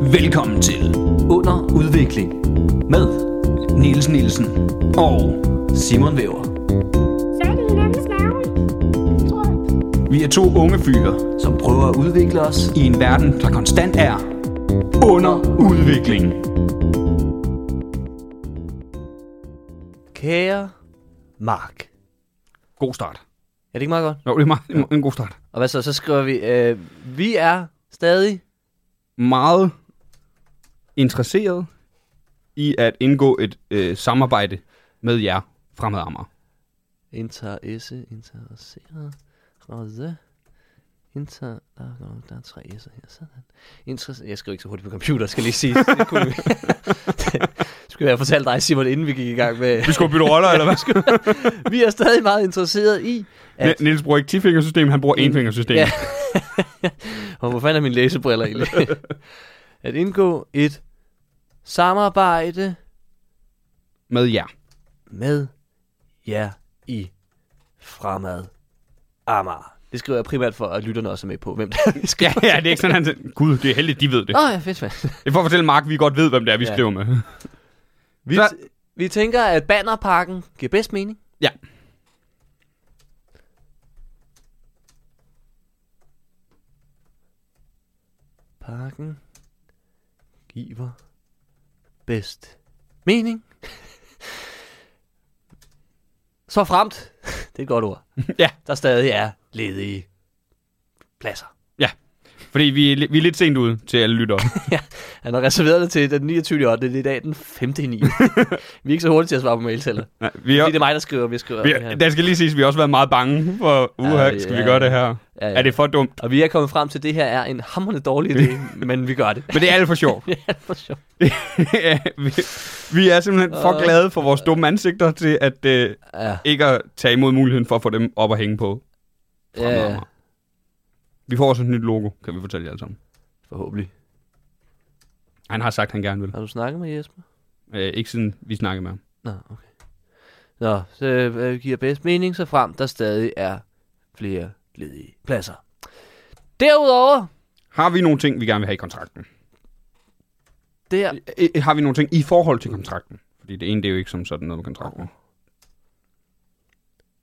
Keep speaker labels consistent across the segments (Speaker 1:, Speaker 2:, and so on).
Speaker 1: Velkommen til Under Udvikling med Niels Nielsen og Simon Væver.
Speaker 2: Fat i hinandens navle. Tror jeg.
Speaker 1: Vi er to unge fyre
Speaker 3: som prøver at udvikle os.
Speaker 1: i en verden, der konstant er under udvikling.
Speaker 3: Kære Mark.
Speaker 1: God start.
Speaker 3: Er det ikke meget godt?
Speaker 1: Jo, det er meget, det er en god start.
Speaker 3: Og hvad så? Så skriver vi, øh, vi er stadig...
Speaker 1: Meget interesseret i at indgå et øh, samarbejde med jer fremad Amager.
Speaker 3: Interesse, interesseret, røde, inter... Ah, nå, der er tre s'er her, sådan. Interesse... Jeg skriver ikke så hurtigt på computer, skal lige sige. Det kunne vi... skulle jeg have fortalt dig, Simon, inden vi gik i gang med...
Speaker 1: Vi skal bytte roller, eller hvad?
Speaker 3: Vi er stadig meget interesseret i, at...
Speaker 1: N- Niels bruger ikke 10-fingersystem, han bruger 1-fingersystem.
Speaker 3: Ja. Og hvor fanden er mine læsebriller egentlig? at indgå et samarbejde
Speaker 1: Med jer.
Speaker 3: med jer i Fremad Amager. Det skriver jeg primært for, at lytterne også er med på, hvem det er, vi
Speaker 1: Ja,
Speaker 3: skriver.
Speaker 1: ja, det er ikke sådan, han siger, Gud, det er heldigt, de ved det.
Speaker 3: Nå ja, fedt, mand.
Speaker 1: Det er for at fortælle Mark, vi godt ved, hvem det er, vi ja.
Speaker 3: Ja.
Speaker 1: skriver med.
Speaker 3: Vi,
Speaker 1: Så-
Speaker 3: t- vi tænker, at bannerparken giver bedst mening.
Speaker 1: Ja.
Speaker 3: Parken giver bedst mening. Så fremt, det er et godt ord,
Speaker 1: ja,
Speaker 3: der stadig er ledige pladser.
Speaker 1: ja. Fordi vi er, li- vi er lidt sent ude til alle lyttere.
Speaker 3: Han har reserveret det til den 29. 8. Det er i dag den 5. 9. vi er ikke så hurtige til at svare på mails heller.
Speaker 1: Nej, vi
Speaker 3: Ja.
Speaker 1: er,
Speaker 3: Det er mig, der skriver, vi skriver.
Speaker 1: vi
Speaker 3: det
Speaker 1: er,
Speaker 3: her.
Speaker 1: der skal lige siges, vi har også været meget bange for, uha,
Speaker 3: Ja,
Speaker 1: skal
Speaker 3: ja.
Speaker 1: vi gøre det her?
Speaker 3: Ja, ja.
Speaker 1: Er det for dumt?
Speaker 3: Og vi er kommet frem til, at det her er en hammerende dårlig idé, men vi gør det.
Speaker 1: Men det er alt for sjovt.
Speaker 3: Det er for sjovt.
Speaker 1: vi, vi er simpelthen for glade for vores dumme ansigter til at øh,
Speaker 3: Ja,
Speaker 1: ikke at tage imod muligheden for at få dem op og hænge på.
Speaker 3: ja, ja.
Speaker 1: fremadrettet. Vi får også et nyt logo, kan vi fortælle jer alle sammen.
Speaker 3: Forhåbentlig.
Speaker 1: Han har sagt, at han gerne vil.
Speaker 3: Har du snakket med Jesper?
Speaker 1: Øh, ikke siden vi snakkede med ham.
Speaker 3: Nå, okay. Nå, så øh, giver bedst mening, så frem der stadig er flere ledige pladser. Derudover,
Speaker 1: Har vi nogle ting, vi gerne vil have i kontrakten?
Speaker 3: der
Speaker 1: Øh, Har vi nogle ting i forhold til kontrakten? Fordi det ene, det er jo ikke som sådan noget med kontrakten.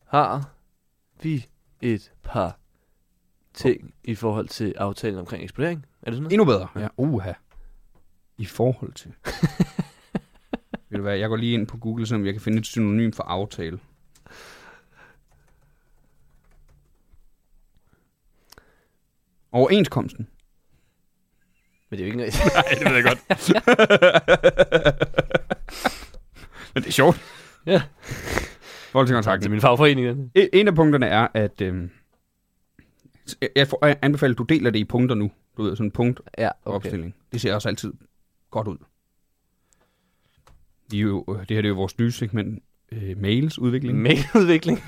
Speaker 3: har vi et par ting i forhold til aftalen omkring eksponering. Er det sådan noget?
Speaker 1: Endnu bedre. Ja, uha. I forhold til. Ved du hvad, jeg går lige ind på Google, så jeg kan finde et synonym for aftale. Overenskomsten.
Speaker 3: Men det er jo ikke noget.
Speaker 1: Nej, det ved jeg godt. Men det er sjovt.
Speaker 3: Ja.
Speaker 1: Forhold til
Speaker 3: Tak til
Speaker 1: kontrakten.
Speaker 3: min fagforening. den.
Speaker 1: E- En af punkterne er, at... Øhm, jeg- jeg får- jeg anbefaler, at du deler det i punkter nu. Du ved, sådan punkt
Speaker 3: Ja,
Speaker 1: okay.
Speaker 3: okay.
Speaker 1: opstilling. Det ser også altid godt ud. De er jo, øh, det her det er jo vores nye segment, øh, mails udvikling.
Speaker 3: Mailudvikling.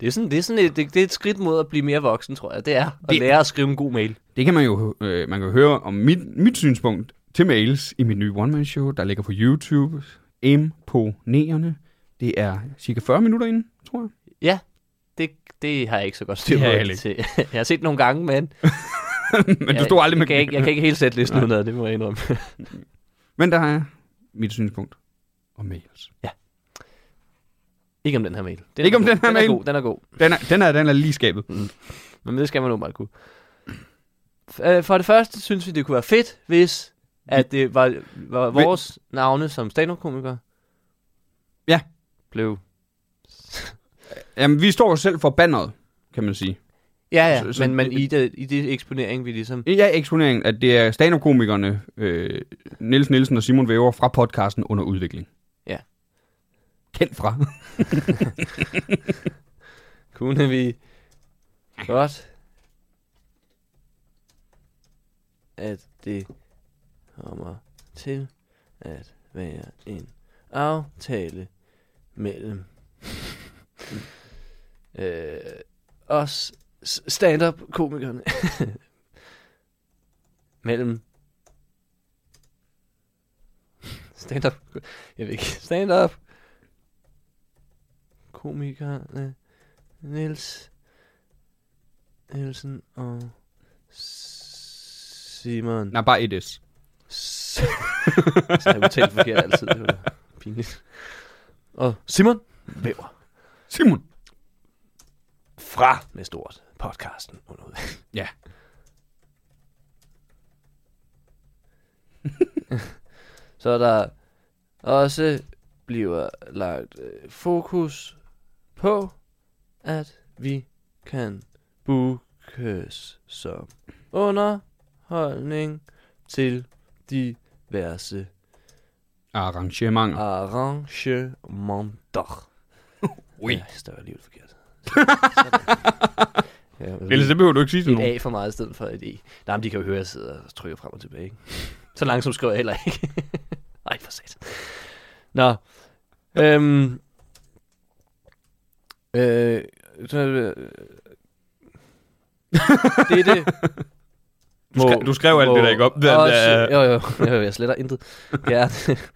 Speaker 3: Det er, sådan, det, er sådan et, det, det er et skridt mod at blive mere voksen, tror jeg. Det er at
Speaker 1: Det-
Speaker 3: det... lære at skrive en god mail.
Speaker 1: det kan man jo øh, man kan jo høre om mit, mit synspunkt til mails i mit nye one-man-show, der ligger på YouTube. Imponerende. Det er cirka 40 minutter inden, tror jeg.
Speaker 3: Ja, det, det har jeg ikke så godt styr
Speaker 1: Det
Speaker 3: på.
Speaker 1: har jeg
Speaker 3: Jeg, til. jeg har set det nogle gange, men,
Speaker 1: Men du
Speaker 3: jeg,
Speaker 1: stod aldrig med...
Speaker 3: jeg, kan ikke, jeg kan ikke helt sætte listen
Speaker 1: Nej.
Speaker 3: udenad, det må jeg indrømme.
Speaker 1: Men der er mit synspunkt om mails.
Speaker 3: ikke om den her mail. Den er
Speaker 1: Ikke om
Speaker 3: god.
Speaker 1: den her
Speaker 3: den er
Speaker 1: mail.
Speaker 3: God, den er god,
Speaker 1: Den er, den er, den er lige i skabet.
Speaker 3: men det skal man åbenbart kunne. F- øh, For det første synes vi, det kunne være fedt, hvis at det var, var vores navne som stand-up-komikere
Speaker 1: Ja.
Speaker 3: blev...
Speaker 1: Jamen, vi står jo selv for banneret, kan man sige.
Speaker 3: Ja, ja,
Speaker 1: Så-
Speaker 3: så,
Speaker 1: så-
Speaker 3: så, men, men i, det, i det eksponering, vi ligesom...
Speaker 1: Ja, eksponeringen, at det er stand-up-komikerne øh, Niels Nielsen og Simon Væver fra podcasten Under Udvikling.
Speaker 3: Ja.
Speaker 1: Kendt fra.
Speaker 3: Kunne vi godt, at det kommer til at være en aftale mellem øh, os s- stand-up-komikerne. mellem stand-up, jeg ved ikke, stand-up komikerne Niels Nielsen og Simon
Speaker 1: Nej, bare et S.
Speaker 3: Så har jeg udtalt forkert altid. Det var pinligt. Og Simon Væver
Speaker 1: Simon.
Speaker 3: fra med stort podcasten. Under huden.
Speaker 1: Ja.
Speaker 3: Så er der også bliver lagt øh, fokus på, at vi kan bookes som underholdning til diverse
Speaker 1: Arrangementer.
Speaker 3: arrangementer.
Speaker 1: Ui.
Speaker 3: Ah, Ja, jeg står alligevel forkert. Sådan. ja, men
Speaker 1: Ellers det behøver du ikke sige til
Speaker 3: et
Speaker 1: nogen.
Speaker 3: A for meget i stedet for et E. Nej, men de kan jo høre, at jeg sidder og trykker frem og tilbage. Ikke? Så langsomt skriver jeg heller ikke. Nej, for sat. Nå. Øhm. Øh. så, øh, det er det.
Speaker 1: Du, skre, du skrev alt det der ikke op. Det,
Speaker 3: Åh,
Speaker 1: der,
Speaker 3: shit. jo, jo, jo, jo, jeg sletter intet. Ja, det,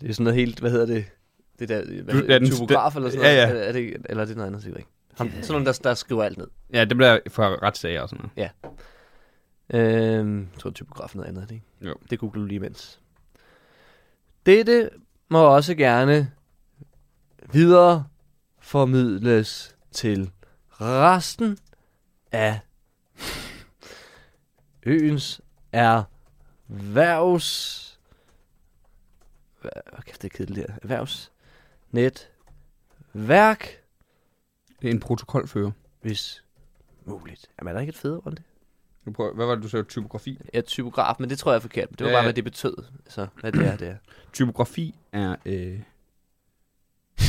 Speaker 3: det er sådan noget helt, hvad hedder det? Det der, hvad,
Speaker 1: Du- ja,
Speaker 3: er
Speaker 1: den-
Speaker 3: den, typograf eller sådan
Speaker 1: ja,
Speaker 3: noget?
Speaker 1: ja.
Speaker 3: Er, er det, eller er det noget andet, sikkert ikke? Ham, sådan nogen, der, der skriver alt ned.
Speaker 1: ja, det bliver for retssager og sådan noget.
Speaker 3: Øhm, jeg tror, typografen er noget andet, er det ikke?
Speaker 1: Jo.
Speaker 3: Det googler du lige imens. Dette må også gerne videre formidles til resten af øens erhvervs... Hvad kæft, det er kedeligt det her. Erhvervsnetværk,
Speaker 1: Det er en protokolfører.
Speaker 3: hvis muligt. Jamen, er der ikke et federe ord end det?
Speaker 1: Du prøver, hvad var det, du sagde? Typografi?
Speaker 3: Ja, typograf, men det tror jeg er forkert. Det var
Speaker 1: Ja,
Speaker 3: ja,
Speaker 1: ja.
Speaker 3: bare, hvad det betød. Så hvad det er, det er.
Speaker 1: Typografi er... Øh,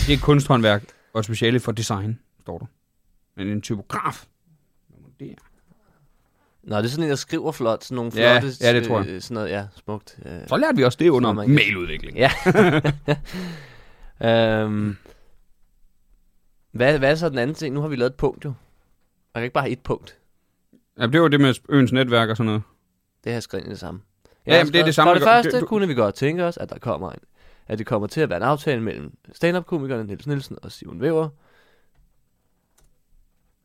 Speaker 1: det er kunsthåndværk og et speciale for design, står der. Men en typograf... Det er
Speaker 3: Nå, det er sådan en, der skriver flot. Sådan nogle
Speaker 1: Ja,
Speaker 3: flotte...
Speaker 1: ja, det tror jeg.
Speaker 3: Øh, sådan noget, ja, smukt. Øh.
Speaker 1: Så lærte vi også det under
Speaker 3: Sådan, man kan-
Speaker 1: mailudvikling.
Speaker 3: Ja. øhm, hvad, hvad er så den anden ting? Nu har vi lavet et punkt jo. Man kan ikke bare have et punkt.
Speaker 1: Ja, det var det med øens netværk og sådan noget.
Speaker 3: Det har jeg skrevet ind i det samme.
Speaker 1: Ja, jamen, det er det samme,
Speaker 3: For det
Speaker 1: jeg gør.
Speaker 3: første
Speaker 1: Det-
Speaker 3: det,
Speaker 1: du-
Speaker 3: du... kunne vi godt tænke os, at der kommer en, at det kommer til at være en aftale mellem stand-up-komikerne Niels Nielsen og Simon Væver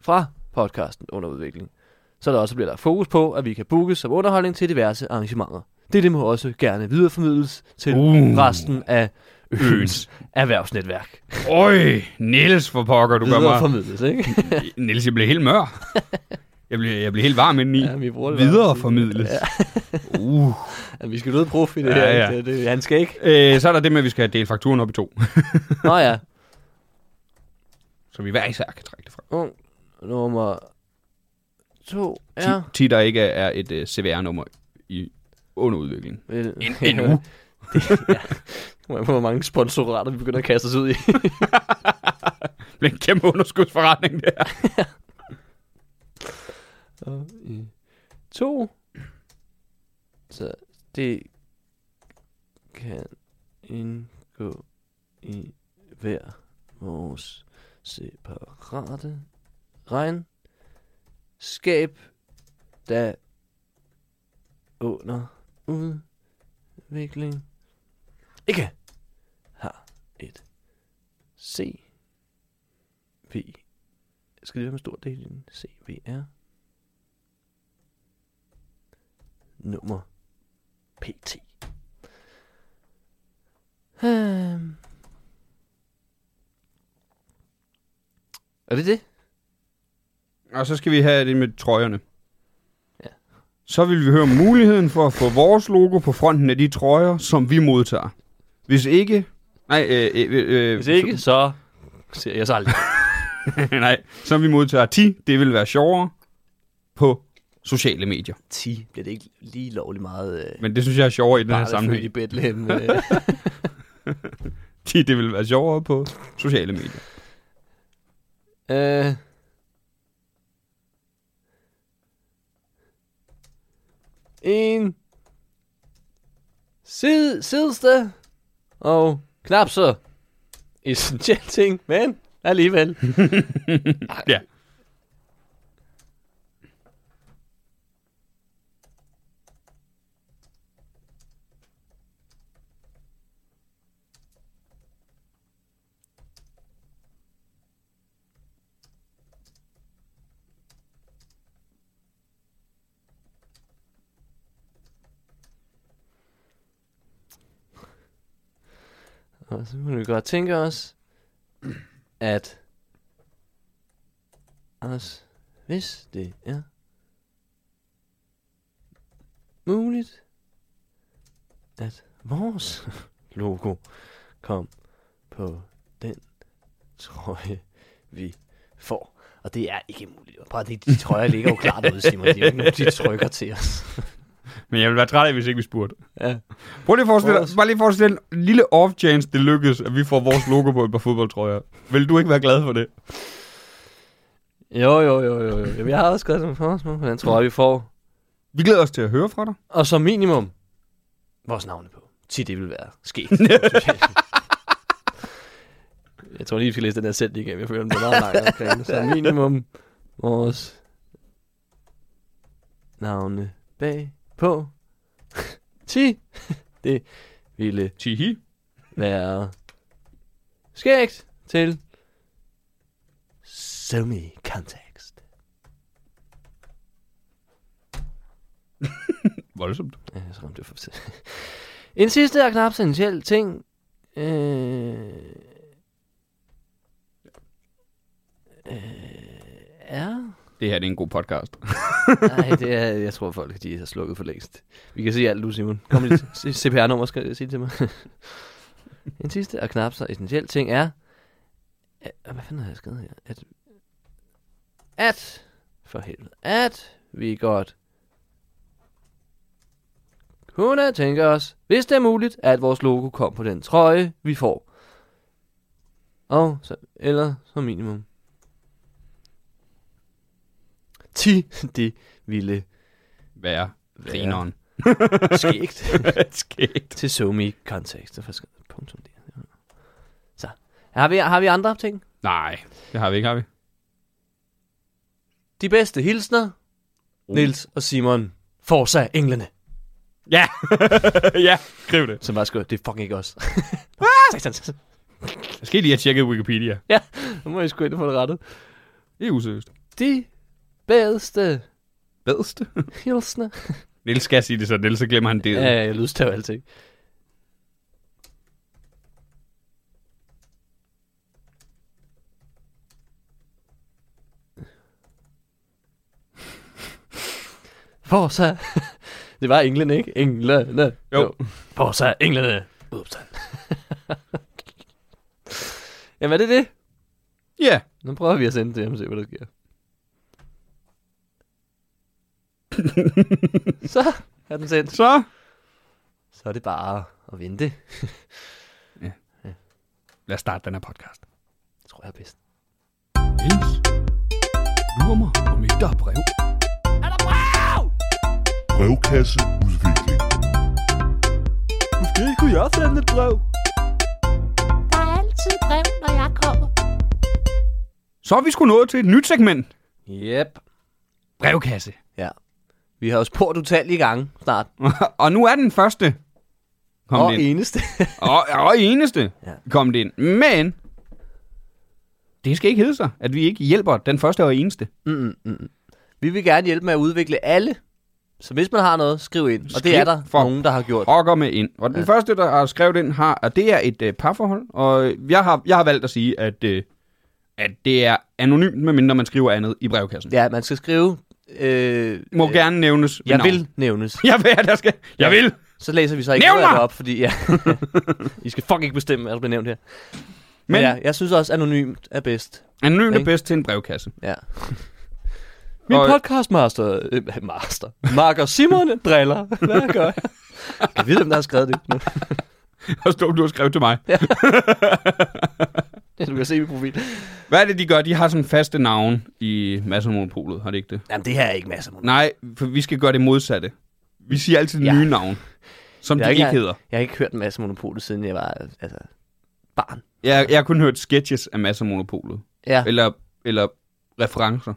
Speaker 3: fra podcasten under udvikling. Så der også bliver der fokus på, at vi kan bookes som underholdning til diverse arrangementer. Det, det må også gerne videreformidles til
Speaker 1: Uh.
Speaker 3: uh. resten af øens
Speaker 1: Øens.
Speaker 3: erhvervsnetværk.
Speaker 1: Øj, Niels, for pokker, du gør mig...
Speaker 3: Videreformidles, ikke?
Speaker 1: Niels, jeg blev helt mør. Jeg blev, jeg blev helt varm indeni.
Speaker 3: Ja, vi bruger det bare at sige.
Speaker 1: Videreformidles. Uh.
Speaker 3: Ja, vi skal lyde prof i det
Speaker 1: Ja,
Speaker 3: ja, her.
Speaker 1: ja.
Speaker 3: Ja. Det, det, han skal ikke.
Speaker 1: Øh, så er der det med, at vi skal have delt fakturen op i to.
Speaker 3: Nå ja.
Speaker 1: Så vi hver især kan trække det fra.
Speaker 3: Ung nummer to
Speaker 1: Ja.
Speaker 3: er...
Speaker 1: Ti, der ikke er et uh, CVR-nummer i under udvikling.
Speaker 3: Vel,
Speaker 1: En, endnu.
Speaker 3: Nu er hvor mange sponsorater, vi begynder at kaste os ud i.
Speaker 1: Det bliver en kæmpe underskudsforretning, det her.
Speaker 3: Og i øh, to. Så det kan indgå i hver vores separate regn. Skab, der under udvikling ikke har et C. V. Skal det være med stor del i den? C, V, R. nummer PT. Øhm. Er det det?
Speaker 1: Og så skal vi have det med trøjerne.
Speaker 3: Ja.
Speaker 1: Så vil vi høre om muligheden for at få vores logo på fronten af de trøjer, som vi modtager. Hvis ikke... Nej, øh, øh, øh,
Speaker 3: Hvis ikke, så ser jeg så aldrig.
Speaker 1: nej, som vi modtager 10, det vil være sjovere på sociale medier.
Speaker 3: 10 bliver det ikke lige lovligt meget... Øh,
Speaker 1: Men det synes jeg er sjovere i den her
Speaker 3: barnet født i
Speaker 1: sammenhæng.
Speaker 3: Bethlehem. Øh.
Speaker 1: 10, det vil være sjovere på sociale medier.
Speaker 3: øh. En sid, sidste og knap så essentiel ting, men alligevel.
Speaker 1: Ja.
Speaker 3: Og så kunne vi godt tænke os, at Anders, hvis det er muligt, at vores logo kom på den trøje, vi får. Og det er ikke muligt. Bare det, de trøjer ligger jo klart ude, Simon. Det er jo ikke nogen, de trykker til os.
Speaker 1: Men jeg ville være træt af, hvis ikke vi spurgte.
Speaker 3: Ja.
Speaker 1: Prøv lige at forestille dig,
Speaker 3: Vores-
Speaker 1: bare lige at forestille dig en lille off-chance, det lykkes, at vi får vores logo på et par fodboldtrøjer. Vil du ikke være glad for det?
Speaker 3: Jo, jo, jo, jo, jo. Jeg har også skrevet som formål, hvordan tror jeg, vi får.
Speaker 1: Vi glæder os til at høre fra dig.
Speaker 3: Og som minimum, vores navne på. Tid det vil være sket. på sociale medier. jeg tror lige, vi skal læse den her sætning igennem. Jeg føler, den bliver meget lang omkring. det. Som minimum, vores navne bag på. Ti. det ville
Speaker 1: Tihi.
Speaker 3: være skægt til Sony Context.
Speaker 1: Voldsomt.
Speaker 3: Ja, så ramte jeg for En sidste og knap essentiel ting. Øh... Øh... Er...
Speaker 1: Det her det er en god podcast.
Speaker 3: Nej, det er... Jeg tror, folk de har slukket for længst. Vi kan se alt nu, Simon. Kom med dit c- CPR-nummer, skal jeg sige til mig. en sidste og knap så essentiel ting er... At... Hvad fanden har jeg skrevet her? At... At... For helvede. At vi godt kunne tænke os, hvis det er muligt, at vores logo kom på den trøje, vi får. Og så, eller som minimum. Ti, det ville
Speaker 1: Være grineren.
Speaker 3: skægt
Speaker 1: Skægt.
Speaker 3: til somi kontekst. Det er faktisk punktum der. Så, har vi, har vi andre ting?
Speaker 1: Nej, det har vi ikke, har vi?
Speaker 3: De bedste hilsner, Nils og Simon. Forza Englene.
Speaker 1: Ja! ja, skriv det.
Speaker 3: Som var skørt, det er fucking ikke os. Satan.
Speaker 1: Jeg skal lige have tjekket Wikipedia.
Speaker 3: ja, nu må jeg sgu ind og få det rettet.
Speaker 1: Det er useriøst.
Speaker 3: De bedste
Speaker 1: Bedste.
Speaker 3: hilsner.
Speaker 1: Nils skal sige det så, Nils, så glemmer han det.
Speaker 3: Ja, ja, jeg lydstav alting. Hvor så? Det var englene, ikke? Englene.
Speaker 1: Jo.
Speaker 3: Hvor så? Englene. Ups. Jamen, er det det?
Speaker 1: Ja.
Speaker 3: Nu prøver vi at sende det til ham og se, hvad der sker. så er den sendt.
Speaker 1: Så.
Speaker 3: Så er det bare at vente.
Speaker 1: Lad os starte den her podcast.
Speaker 3: Det tror jeg er bedst.
Speaker 1: Nils, lurer mig, om ikke der er brev.
Speaker 4: Brevkasse udvikling.
Speaker 3: Måske kunne jeg sende et brev.
Speaker 2: Der er altid brev, når jeg kommer.
Speaker 1: Så er vi sgu nået til et nyt segment.
Speaker 3: Yep.
Speaker 1: Brevkasse.
Speaker 3: Ja. Vi har jo spurgt utallige gange snart.
Speaker 1: og nu er den første. Kom
Speaker 3: og
Speaker 1: ind.
Speaker 3: eneste.
Speaker 1: Og, og eneste
Speaker 3: Ja.
Speaker 1: kom det ind. Men det skal ikke hedde sig, at vi ikke hjælper den første og eneste.
Speaker 3: Mm, mm, mm. vi vil gerne hjælpe med at udvikle alle. Så hvis man har noget, skriv ind. og
Speaker 1: Skriv
Speaker 3: det er der
Speaker 1: for
Speaker 3: nogen, der har gjort.
Speaker 1: Rocker med ind. Og den ja. første, der har skrevet ind, har, og det er et øh, parforhold. Og øh, jeg har, jeg har valgt at sige, at, øh, at det er anonymt, medmindre man skriver andet i brevkassen. Ja.
Speaker 3: Ja, man skal skrive. Øh,
Speaker 1: Må
Speaker 3: øh,
Speaker 1: gerne nævnes ved
Speaker 3: Jeg
Speaker 1: navn.
Speaker 3: vil nævnes.
Speaker 1: Jeg vil, der skal. Jeg vil.
Speaker 3: Så læser vi så ikke
Speaker 1: Nævn
Speaker 3: noget af
Speaker 1: mig!
Speaker 3: det op, fordi ja, I skal fucking ikke bestemme, hvad der bliver nævnt her. Men,
Speaker 1: Men
Speaker 3: Men ja, jeg synes også, anonymt er bedst.
Speaker 1: anonymt er
Speaker 3: Ikke?
Speaker 1: bedst til en brevkasse.
Speaker 3: Ja. Min
Speaker 1: Og-
Speaker 3: podcastmaster, øh, master, Mark og Simon driller. Hvad gør jeg? Jeg ved, hvem der har skrevet det. Nu.
Speaker 1: Og stå, du har skrevet til mig.
Speaker 3: Ja, du kan se min profil.
Speaker 1: Hvad er det, de gør? De har sådan faste navn i massemonopolet, har det ikke det?
Speaker 3: Jamen, det her er ikke masser. af
Speaker 1: Nej, for vi skal gøre det modsatte. Vi siger altid
Speaker 3: Ja.
Speaker 1: ja. nye navn, som
Speaker 3: Jeg
Speaker 1: de
Speaker 3: er
Speaker 1: ikke,
Speaker 3: ikke-
Speaker 1: hedder.
Speaker 3: Jeg har ikke hørt en masse monopolet, siden jeg var altså, barn.
Speaker 1: Jeg, jeg har kun hørt sketches af masser af monopolet.
Speaker 3: Ja,
Speaker 1: Ja. Eller, eller referencer.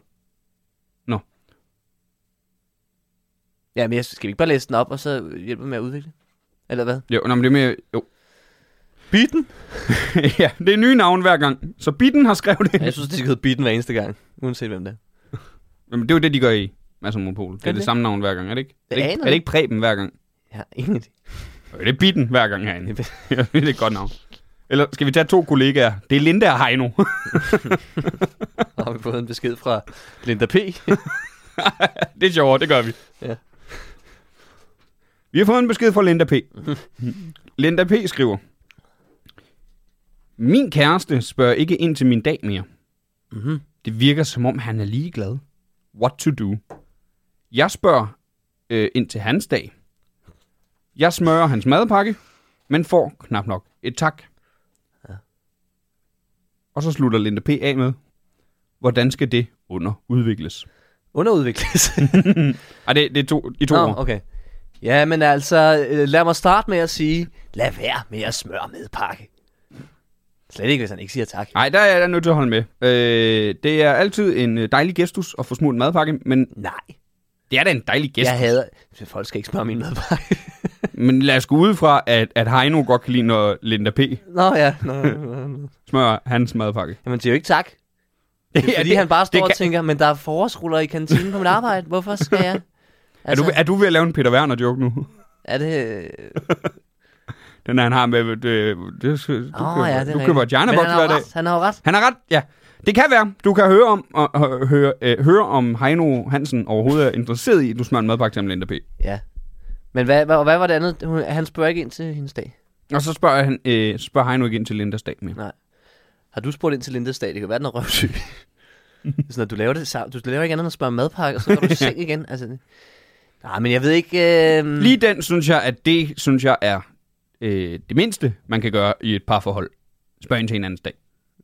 Speaker 3: ja men jeg, skal vi ikke bare læse den op, og så hjælpe med at udvikle? Eller hvad?
Speaker 1: Jo, nå, men det er mere... Jo.
Speaker 3: Bitten?
Speaker 1: ja, det er nye navn hver gang. Så Bitten har skrevet det.
Speaker 3: Ja, jeg synes, det skal hedde Bitten hver eneste gang, uanset hvem det er.
Speaker 1: Jamen, det er jo det, de gør i masser af monopolet. Det
Speaker 3: Er
Speaker 1: er
Speaker 3: det
Speaker 1: det
Speaker 3: det?
Speaker 1: samme navn hver gang, er det ikke? Er
Speaker 3: Det
Speaker 1: det ikke,
Speaker 3: aner
Speaker 1: er det
Speaker 3: jeg.
Speaker 1: ikke Preben hver gang?
Speaker 3: Jeg har ingen idé.
Speaker 1: Jo, det er Bitten hver gang herinde.
Speaker 3: Det
Speaker 1: det er et godt navn. Eller skal vi tage to kollegaer? Det er Linda og Heino.
Speaker 3: Og har vi fået en besked fra Linda P.
Speaker 1: det er sjovt, det gør vi.
Speaker 3: Ja.
Speaker 1: Vi har fået en besked fra Linda P. Linda P. skriver, Min kæreste spørger ikke ind til min dag mere.
Speaker 3: mm-hmm.
Speaker 1: Det virker som om, han er ligeglad. What to do? Jeg spørger øh, ind til hans dag. Jeg smører hans madpakke, men får knap nok et tak.
Speaker 3: Ja.
Speaker 1: Og så slutter Linda P. af med, hvordan skal det underudvikles?
Speaker 3: Underudvikles.
Speaker 1: Ej, det, det er to, i to
Speaker 3: Nå,
Speaker 1: Nå, ord.
Speaker 3: okay. Ja, men altså, øh, lad mig starte med at sige, lad være med at smøre med pakke. Slet ikke, hvis han ikke siger tak.
Speaker 1: Nej, der er jeg nødt til at holde med. Øh, det er altid en øh, dejlig gestus at få smurt en madpakke, men
Speaker 3: Nej,
Speaker 1: det er da en dejlig gestus.
Speaker 3: jeg hader... Folk skal ikke smøre min madpakke.
Speaker 1: Men lad os gå ud fra, at, at Heino godt kan lide, når Linda P.
Speaker 3: Nå ja, nå, nå, nå.
Speaker 1: smører hans madpakke.
Speaker 3: Jamen, det er jo ikke tak. Det er, fordi han bare står og tænker, men der er forårsruller i kantinen på mit arbejde. Hvorfor skal jeg?
Speaker 1: Altså... Er, du, er du ved at lave en Peter Werner-joke nu?
Speaker 3: er det...
Speaker 1: Den han har med... øh, Det, det, du
Speaker 3: Åh,
Speaker 1: køber,
Speaker 3: ja, det er
Speaker 1: du køber
Speaker 3: rigtigt. Men
Speaker 1: Jana-boks
Speaker 3: han har
Speaker 1: hver
Speaker 3: jo
Speaker 1: dag.
Speaker 3: ret. Han har jo ret.
Speaker 1: Han har ret, ja. Det kan være. Du kan høre om, og, og, høre, øh, høre om Heino Hansen overhovedet er interesseret i, at du smører en madpakke til ham, Linda P.
Speaker 3: Ja. Men hvad, hvad, hvad var det andet? Hun- Han spørger ikke ind til hendes dag.
Speaker 1: Og så spørger, han, øh, spørger Heino igen til Lindas dag med.
Speaker 3: Har du spurgt ind til Lindes dag? Det kan være, den er røvsyg. sådan, at du laver det sammen. Du laver ikke andet end at spørge om madpakke, og så går du i seng igen. Altså, nej, men jeg ved ikke... Øh...
Speaker 1: Lige den, synes jeg, at det, synes jeg, er øh, det mindste, man kan gøre i et parforhold. Spørg ind til hinandens dag.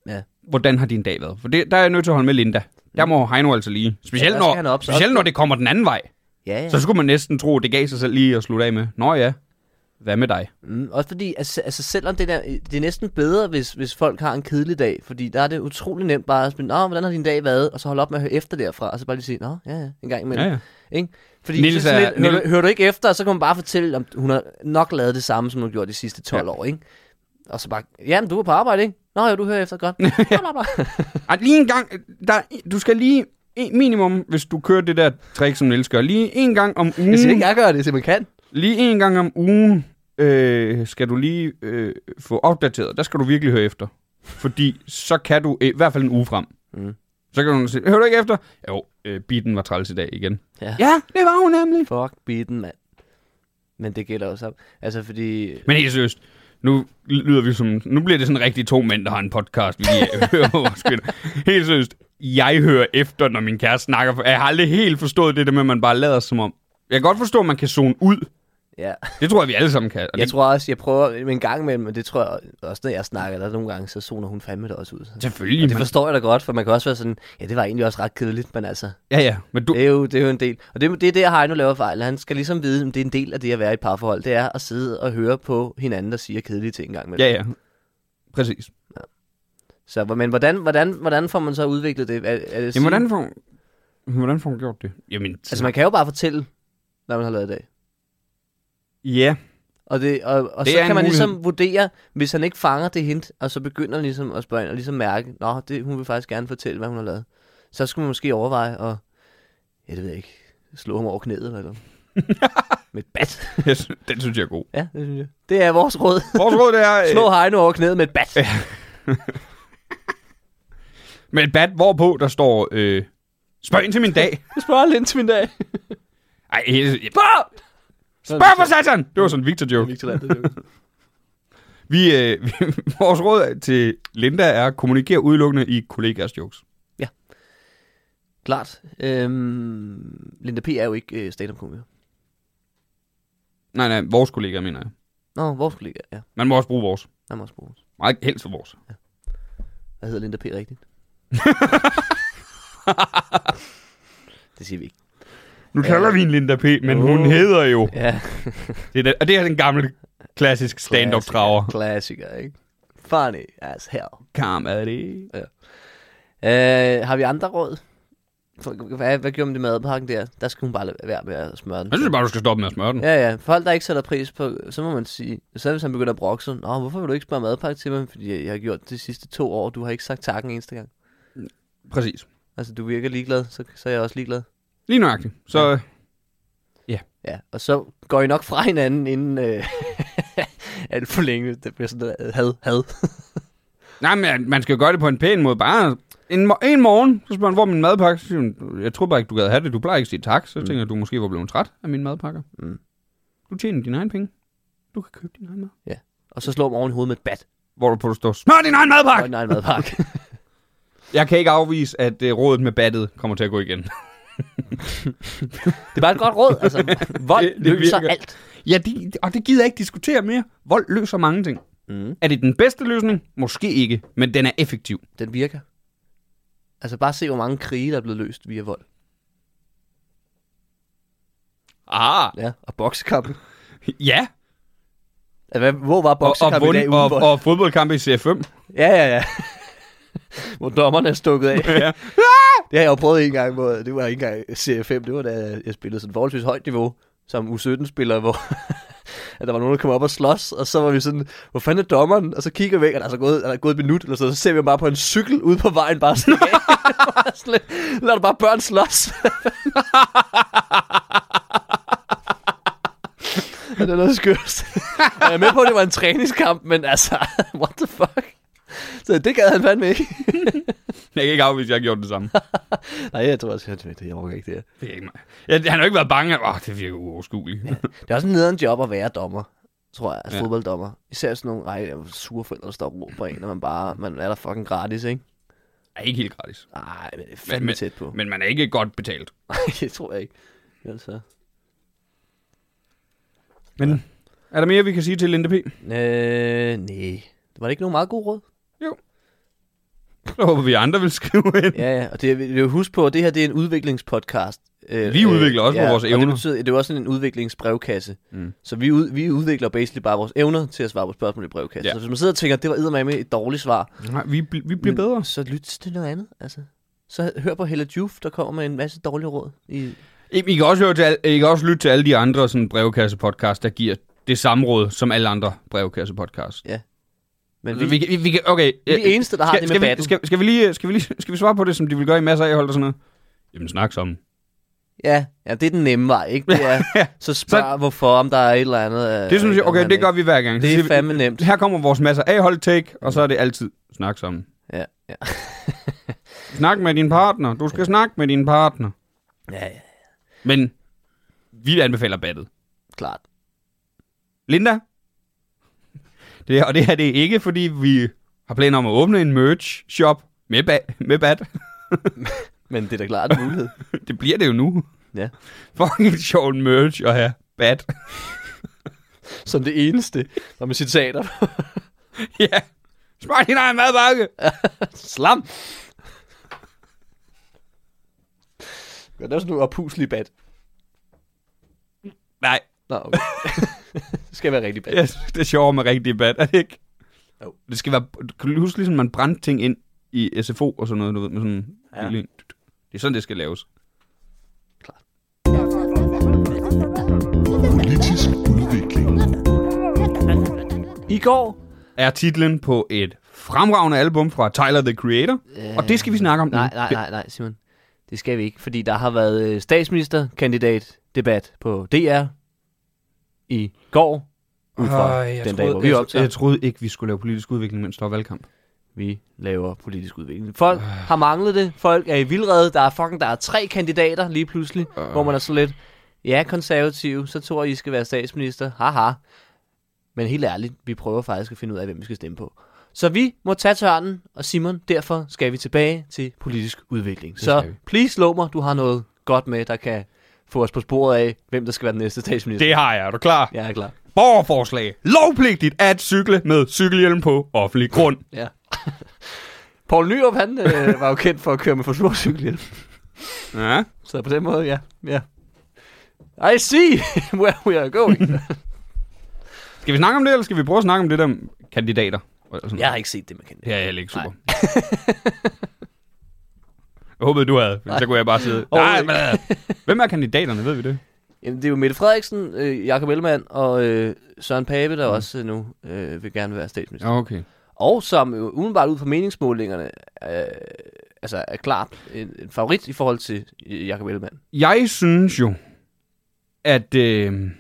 Speaker 3: Ja. Mm.
Speaker 1: Hvordan har din dag været? For det, der er jeg nødt til at holde med Linda. Der må Heino altså lige. Specielt,
Speaker 3: der
Speaker 1: ja,
Speaker 3: skal
Speaker 1: når,
Speaker 3: han op, så-
Speaker 1: specielt når det kommer den anden vej.
Speaker 3: Ja, ja.
Speaker 1: Så skulle man næsten tro, at det gav sig selv lige at slutte af med. Nå ja, hvad med dig?
Speaker 3: Mm, også fordi, altså, altså selvom det, der, det er næsten bedre, hvis, hvis folk har en kedelig dag, fordi der er det utrolig nemt bare at spørge, Nå, hvordan har din dag været? Og så holde op med at høre efter derfra, og så bare lige sige, Nå, ja, ja, en gang imellem.
Speaker 1: Ja, ja.
Speaker 3: Ikke? Fordi
Speaker 1: Niels
Speaker 3: Niels så, er,
Speaker 1: er-
Speaker 3: lidt, hører,
Speaker 1: Niels-
Speaker 3: du, hører du ikke efter, og så kan man bare fortælle, om hun har nok lavet det samme, som hun har gjort de sidste 12 ja. år, ikke? Og så bare, jamen, du er på arbejde, ikke? Nå, ja, du hører efter, godt. Bla, bla, bla.
Speaker 1: Ej, lige en gang, der, du skal lige en minimum, hvis du kører det der trick, som Niels gør, lige en gang om ugen.
Speaker 3: Jeg siger ikke, jeg gør det, så man kan.
Speaker 1: Lige en gang om ugen øh, skal du lige øh, få opdateret. Der skal du virkelig høre efter. Fordi så kan du, øh, i hvert fald en uge frem,
Speaker 3: Mm.
Speaker 1: så kan du sige, hører du ikke efter? Jo, øh, biten var træls i dag igen.
Speaker 3: Ja.
Speaker 1: ja, det var hun nemlig.
Speaker 3: Fuck biten, mand. Men det gælder også sammen. Altså, fordi...
Speaker 1: Men helt seriøst, nu lyder vi som, nu bliver det sådan rigtig to mænd, der har en podcast, vi lige øh, hører vores kvinder. Helt seriøst, jeg hører efter, når min kæreste snakker. For jeg har aldrig helt forstået det der med, at man bare lader som om. Jeg kan godt forstå, at man kan zone ud.
Speaker 3: Ja.
Speaker 1: Det tror jeg, vi alle sammen kan. Og
Speaker 3: Jeg
Speaker 1: det,
Speaker 3: tror også, jeg prøver en gang imellem, og det tror jeg også, når jeg snakker, der er nogle gange, så zoner hun fandme det også ud.
Speaker 1: selvfølgelig.
Speaker 3: Og det
Speaker 1: man-
Speaker 3: forstår jeg da godt, for man kan også være sådan, ja, det var egentlig også ret kedeligt, men altså,
Speaker 1: Ja, ja. Men du,
Speaker 3: det er jo, det er jo en del. Og det, det er det, Heino laver fejl. Han skal ligesom vide, om det er en del af det at være i et parforhold, det er at sidde og høre på hinanden, der siger kedelige ting engang med.
Speaker 1: ja, ja. Præcis.
Speaker 3: Så, hvor- men hvordan, hvordan, hvordan får man så udviklet det? Er, er det sige-
Speaker 1: Jamen, hvordan får, hvordan får man gjort det? Jamen,
Speaker 3: Altså, man kan jo bare fortælle, hvad man har lavet i dag.
Speaker 1: ja.
Speaker 3: Og, det, og, og
Speaker 1: Det
Speaker 3: det så
Speaker 1: er en
Speaker 3: kan man
Speaker 1: mulighed.
Speaker 3: ligesom vurdere, hvis han ikke fanger det hint, og så begynder ligesom at spørge ind, og ligesom mærke, nå, det, hun vil faktisk gerne fortælle, hvad hun har lavet. Så skulle man måske overveje at, ja, det ved jeg ikke, slå ham over knæet eller noget. Med et bat.
Speaker 1: Jeg sy- Den synes jeg er god.
Speaker 3: Ja, det synes jeg. Det er vores råd.
Speaker 1: Vores råd det er...
Speaker 3: Slå Heino over knæet med et bat.
Speaker 1: øh, med et bat, hvorpå der står... Øh, Spørg ind til min dag.
Speaker 3: Jeg spørger lidt til min dag.
Speaker 1: Ej, helt-
Speaker 3: Spørg!
Speaker 1: Spørg for satan! Det var sådan en Victor-joke. Vi, øh, vi, vores råd til Linda er at kommunikere udelukkende i kollegas jokes.
Speaker 3: Klart. Øhm, Linda P. er jo ikke øh, stand-up-komiker.
Speaker 1: Nej, nej, vores kollegaer, mener jeg.
Speaker 3: Nå, vores kollega, ja.
Speaker 1: Man må også bruge vores.
Speaker 3: Han må også bruge vores.
Speaker 1: Meget helst for vores.
Speaker 3: Hvad hedder Linda P. rigtigt? det siger vi ikke.
Speaker 1: Nu kalder vi en Linda P., men
Speaker 3: Uh.
Speaker 1: hun hedder jo.
Speaker 3: Ja.
Speaker 1: Det er den, og det er den gamle, klassisk stand-up-traver.
Speaker 3: Klassiker, ikke? Funny as hell.
Speaker 1: Kam er det.
Speaker 3: Øh, har vi andre råd? For- Hvad, hvad gjorde man det med madpakken der? Der skulle hun bare lade være med at smøre den.
Speaker 1: Jeg synes bare, du skal stoppe med at smøre den.
Speaker 3: Ja, ja. Folk, der ikke sætter pris på, så må man sige, så hvis han begynder at brokke sig, Nå, hvorfor vil du ikke spørge madpakke til mig? Fordi jeg har gjort det de sidste to år, du har ikke sagt tak en eneste gang.
Speaker 1: Præcis.
Speaker 3: Altså, du virker ligeglad, så, så er jeg også ligeglad.
Speaker 1: Lige nøjagtigt. Så
Speaker 3: Ja, og så går I nok fra hinanden, inden, øh, alt for længe. Det bliver sådan noget had, had.
Speaker 1: Nej, men man skal jo gøre det på en pæn måde. Bare en, mo- en morgen, så spørger man, hvor er min madpakke? Så siger hun, jeg tror bare ikke, du gad have det. Du plejer ikke at sige tak. Så mm. tænker jeg, du måske var blevet træt af mine madpakker.
Speaker 3: Mm.
Speaker 1: Du tjener dine egne penge. Du kan købe din egen mad.
Speaker 3: Og så slår man oven i hovedet med et bat.
Speaker 1: Hvor du på, du står, smør din egen madpakke!
Speaker 3: Og nej, en madpakke.
Speaker 1: Jeg kan ikke afvise, at uh, rådet med battet kommer til at gå igen.
Speaker 3: det er bare et godt råd. Altså, vold
Speaker 1: Det-
Speaker 3: det,
Speaker 1: det
Speaker 3: det løser
Speaker 1: virker.
Speaker 3: alt.
Speaker 1: ja, de, og det gider jeg ikke diskutere mere. Vold løser mange ting.
Speaker 3: Mm.
Speaker 1: Er det den bedste løsning? Måske ikke, men den er effektiv.
Speaker 3: Den virker. Altså bare se, hvor mange krige, der er blevet løst via vold.
Speaker 1: Ah,
Speaker 3: Ja, og boksekampe.
Speaker 1: ja.
Speaker 3: Altså, hvad- hvor var
Speaker 1: Og, og,
Speaker 3: boksekampe i dag
Speaker 1: vund,
Speaker 3: uden
Speaker 1: og,
Speaker 3: vold?
Speaker 1: og fodboldkampe i CFM.
Speaker 3: Ja, ja, ja. Hvor dommerne er stukket af.
Speaker 1: Ja.
Speaker 3: Det har jeg jo prøvet en gang, hvor det var ikke engang Serie 5, det var da jeg spillede sådan forholdsvis højt niveau, som U17-spiller, hvor at der var nogen, der kom op og slås, og så var vi sådan, hvor fanden er dommeren? Og så kigger vi væk, og der er så gået, er der gået et minut, eller så, så ser vi ham bare på en cykel ude på vejen, bare sådan, Bare sådan lidt, Lad der bare børn slås. Og det er noget skørt. Og jeg er med på, at det var en træningskamp, men altså, what the fuck? Så det gad han fandme ikke.
Speaker 1: Jeg kan ikke afvise, at jeg har gjort det samme.
Speaker 3: Nej, jeg tror også, jeg det. Jeg orker ikke det her.
Speaker 1: Det er ikke mig. Ja, han har jo ikke været bange. Åh, det virker uoverskueligt. Ja.
Speaker 3: Det er også en nederen job at være dommer, tror jeg, altså
Speaker 1: Ja.
Speaker 3: ja. fodbolddommer. Især sådan nogle ej, jeg er sure forældre, der står og råber en, og man bare, man er der fucking gratis, ikke?
Speaker 1: Er ikke helt gratis.
Speaker 3: Nej, men det er fandme
Speaker 1: men-
Speaker 3: tæt på.
Speaker 1: Men man er ikke godt betalt.
Speaker 3: Nej, det tror jeg ikke. Altså.
Speaker 1: Men ja. er der mere, vi kan sige til Linda P?
Speaker 3: Øh, nej. Var det ikke nogen meget god råd?
Speaker 1: Så håber vi, at andre vil skrive ind.
Speaker 3: Ja, ja, og det, det er jo husk på, at det her det er en udviklingspodcast. Øh,
Speaker 1: Vi udvikler også på vores
Speaker 3: og
Speaker 1: evner.
Speaker 3: Det, betyder, det er jo også sådan en udviklingsbrevkasse.
Speaker 1: Mm.
Speaker 3: Mm. Så vi, ud, vi udvikler basically bare vores evner til at svare på spørgsmål i brevkassen.
Speaker 1: Ja.
Speaker 3: Ja. Så hvis man sidder og tænker, at det var eddermame et dårligt svar,
Speaker 1: Nej, vi, bl- vi bliver
Speaker 3: Men
Speaker 1: bedre.
Speaker 3: Så lyt til noget andet, altså. Så hør på Hella Juf, der kommer med en masse dårlige råd. I...
Speaker 1: I, I, kan også høre til, al- I kan også lytte til alle de andre sådan, brevkassepodcast, der giver det samme råd som alle andre brevkassepodcast.
Speaker 3: Men
Speaker 1: Vi,
Speaker 3: vi, vi,
Speaker 1: vi, kan- vi, vi, kan- okay. øh,
Speaker 3: er de eneste, der har
Speaker 1: skal,
Speaker 3: det med
Speaker 1: skal, vi,
Speaker 3: batten.
Speaker 1: skal, skal, vi lige, skal, vi lige, skal vi svare på det, som de vil gøre i masser af hold og sådan noget? Jamen, snak sammen.
Speaker 3: Ja, ja, det er den nemme vej, ikke? Det er, så spørg, hvorfor, om der er et eller andet... øh,
Speaker 1: Det synes jeg,
Speaker 3: om
Speaker 1: okay,
Speaker 3: han
Speaker 1: det
Speaker 3: ikke-
Speaker 1: gør vi hver gang. Så siger
Speaker 3: Det
Speaker 1: vi-
Speaker 3: er fandme nemt.
Speaker 1: Her kommer vores masser af hold take, og så er det altid snak sammen.
Speaker 3: Ja, ja.
Speaker 1: Snak med din partner. Du skal snakke med din partner.
Speaker 3: Ja, ja,
Speaker 1: Men vi anbefaler battet.
Speaker 3: klart.
Speaker 1: Linda? Det, og det her det er ikke, fordi vi har planer om at åbne en merch-shop med, ba- med bat.
Speaker 3: Men det er da klart en mulighed.
Speaker 1: Det bliver det jo nu.
Speaker 3: Ja.
Speaker 1: Fucking sjov merch at have bat.
Speaker 3: Som det eneste. Og med citater.
Speaker 1: ja. Smart din egen madbakke.
Speaker 3: Slam! Gør det er sådan noget opuslig bad.
Speaker 1: Nej,
Speaker 3: Nå, okay. det skal være rigtig bad.
Speaker 1: yes, det er sjovt med rigtig bat, er det ikke?
Speaker 3: Jo.
Speaker 1: Det skal være, kan du huske ligesom, man brændte ting ind i SFO og sådan noget, du ved, med sådan ja.
Speaker 3: Ja.
Speaker 1: lille, en. Det er sådan, det skal laves.
Speaker 4: Politisk udvikling.
Speaker 3: I går
Speaker 1: Er titlen på et fremragende album fra Tyler, the Creator. Øh, og det skal vi snakke om nu.
Speaker 3: Nej, nej, nej, nej, Simon. Det skal vi ikke, fordi der har været øh, statsministerkandidatdebat på DR i går. Ud fra
Speaker 1: Øj, jeg
Speaker 3: den dag,
Speaker 1: troede-
Speaker 3: hvor vi
Speaker 1: jeg-
Speaker 3: optager.
Speaker 1: Jeg troede ikke, vi skulle lave politisk udvikling, mens der var valgkamp.
Speaker 3: Vi laver politisk udvikling. Folk har manglet det. Folk er i vildrede. Der er fucking der er tre kandidater lige pludselig, øh. hvor man er så lidt, ja, konservative, så tror jeg, I skal være statsminister. Haha. Men helt ærligt, vi prøver faktisk at finde ud af, hvem vi skal stemme på. Så vi må tage tørnen, og Simon, derfor skal vi tilbage til politisk udvikling.
Speaker 1: skal
Speaker 3: Så
Speaker 1: vi.
Speaker 3: please lov mig, du har noget godt med, der kan få os på sporet af, hvem der skal være den næste statsminister.
Speaker 1: Det har jeg, er du klar?
Speaker 3: Jeg er klar.
Speaker 1: Borgerforslag. Lovpligtigt at cykle med cykelhjelm på offentlig grund.
Speaker 3: Ja. Poul Nyrup, han øh, var jo kendt for at køre med for stor cykelhjelm.
Speaker 1: Ja.
Speaker 3: Så på den måde, ja. ja. I see where we are going.
Speaker 1: Skal vi snakke om det, eller skal vi prøve at snakke om det der med kandidater? Og sådan.
Speaker 3: jeg har ikke set det med kandidater.
Speaker 1: Det er jeg heller ikke super. jeg håbede, du havde, for så kunne jeg bare sidde. Nej,
Speaker 3: Overhovedet
Speaker 1: men, øh. hvem er kandidaterne, ved vi det?
Speaker 3: Jamen, det er jo Mette Frederiksen, øh, Jakob Ellemann og øh, Søren Pape, der mm. også øh, nu øh, vil gerne være statsminister.
Speaker 1: Ja,
Speaker 3: Ja.
Speaker 1: okay.
Speaker 3: Og som jo umiddelbart ud fra meningsmålingerne øh, altså er klart en, en favorit i forhold til øh, Jakob Ellemann.
Speaker 1: Jeg synes jo, at øh,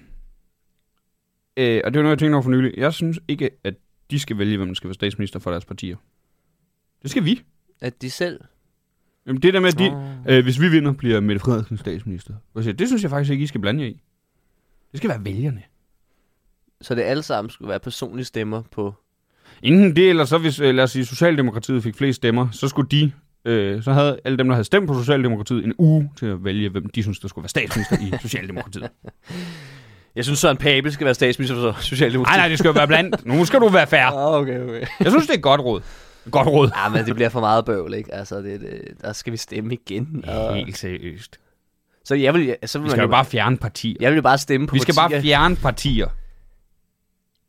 Speaker 1: øh, og det var noget, jeg tænkte over for nylig. Jeg synes ikke, at de skal vælge, hvem der skal være statsminister for deres partier. Det skal vi.
Speaker 3: At de selv...
Speaker 1: Jamen, det der med, at de,
Speaker 3: Åh.
Speaker 1: øh, hvis vi vinder, bliver Mette Frederiksen statsminister. Og jeg siger, Det synes jeg faktisk ikke, I skal blande jer i. Det skal være vælgerne.
Speaker 3: Så det alle sammen skulle være personlige stemmer på...
Speaker 1: Enten det, eller så hvis, øh, lad os sige, Socialdemokratiet fik flest stemmer, så skulle de, øh, så havde alle dem, der havde stemt på Socialdemokratiet, en uge til at vælge, hvem de synes, der skulle være statsminister i Socialdemokratiet.
Speaker 3: Jeg synes, Søren Pape skal være statsminister for
Speaker 1: Nej,
Speaker 3: Socialdemokratiet.
Speaker 1: nej, det skal jo være blandt. Nu skal du være fair.
Speaker 3: Ah, okay, okay.
Speaker 1: Jeg synes, det er et godt råd. Godt råd.
Speaker 3: Ah, men det bliver for meget bøvl, ikke? Altså, det, det, der skal vi stemme igen. Og...
Speaker 1: Helt seriøst.
Speaker 3: Så jeg vil, så vil
Speaker 1: Vi
Speaker 3: man
Speaker 1: skal jo bare fjerne partier.
Speaker 3: Jeg vil jo bare stemme på
Speaker 1: Vi skal bare
Speaker 3: partier.
Speaker 1: fjerne partier.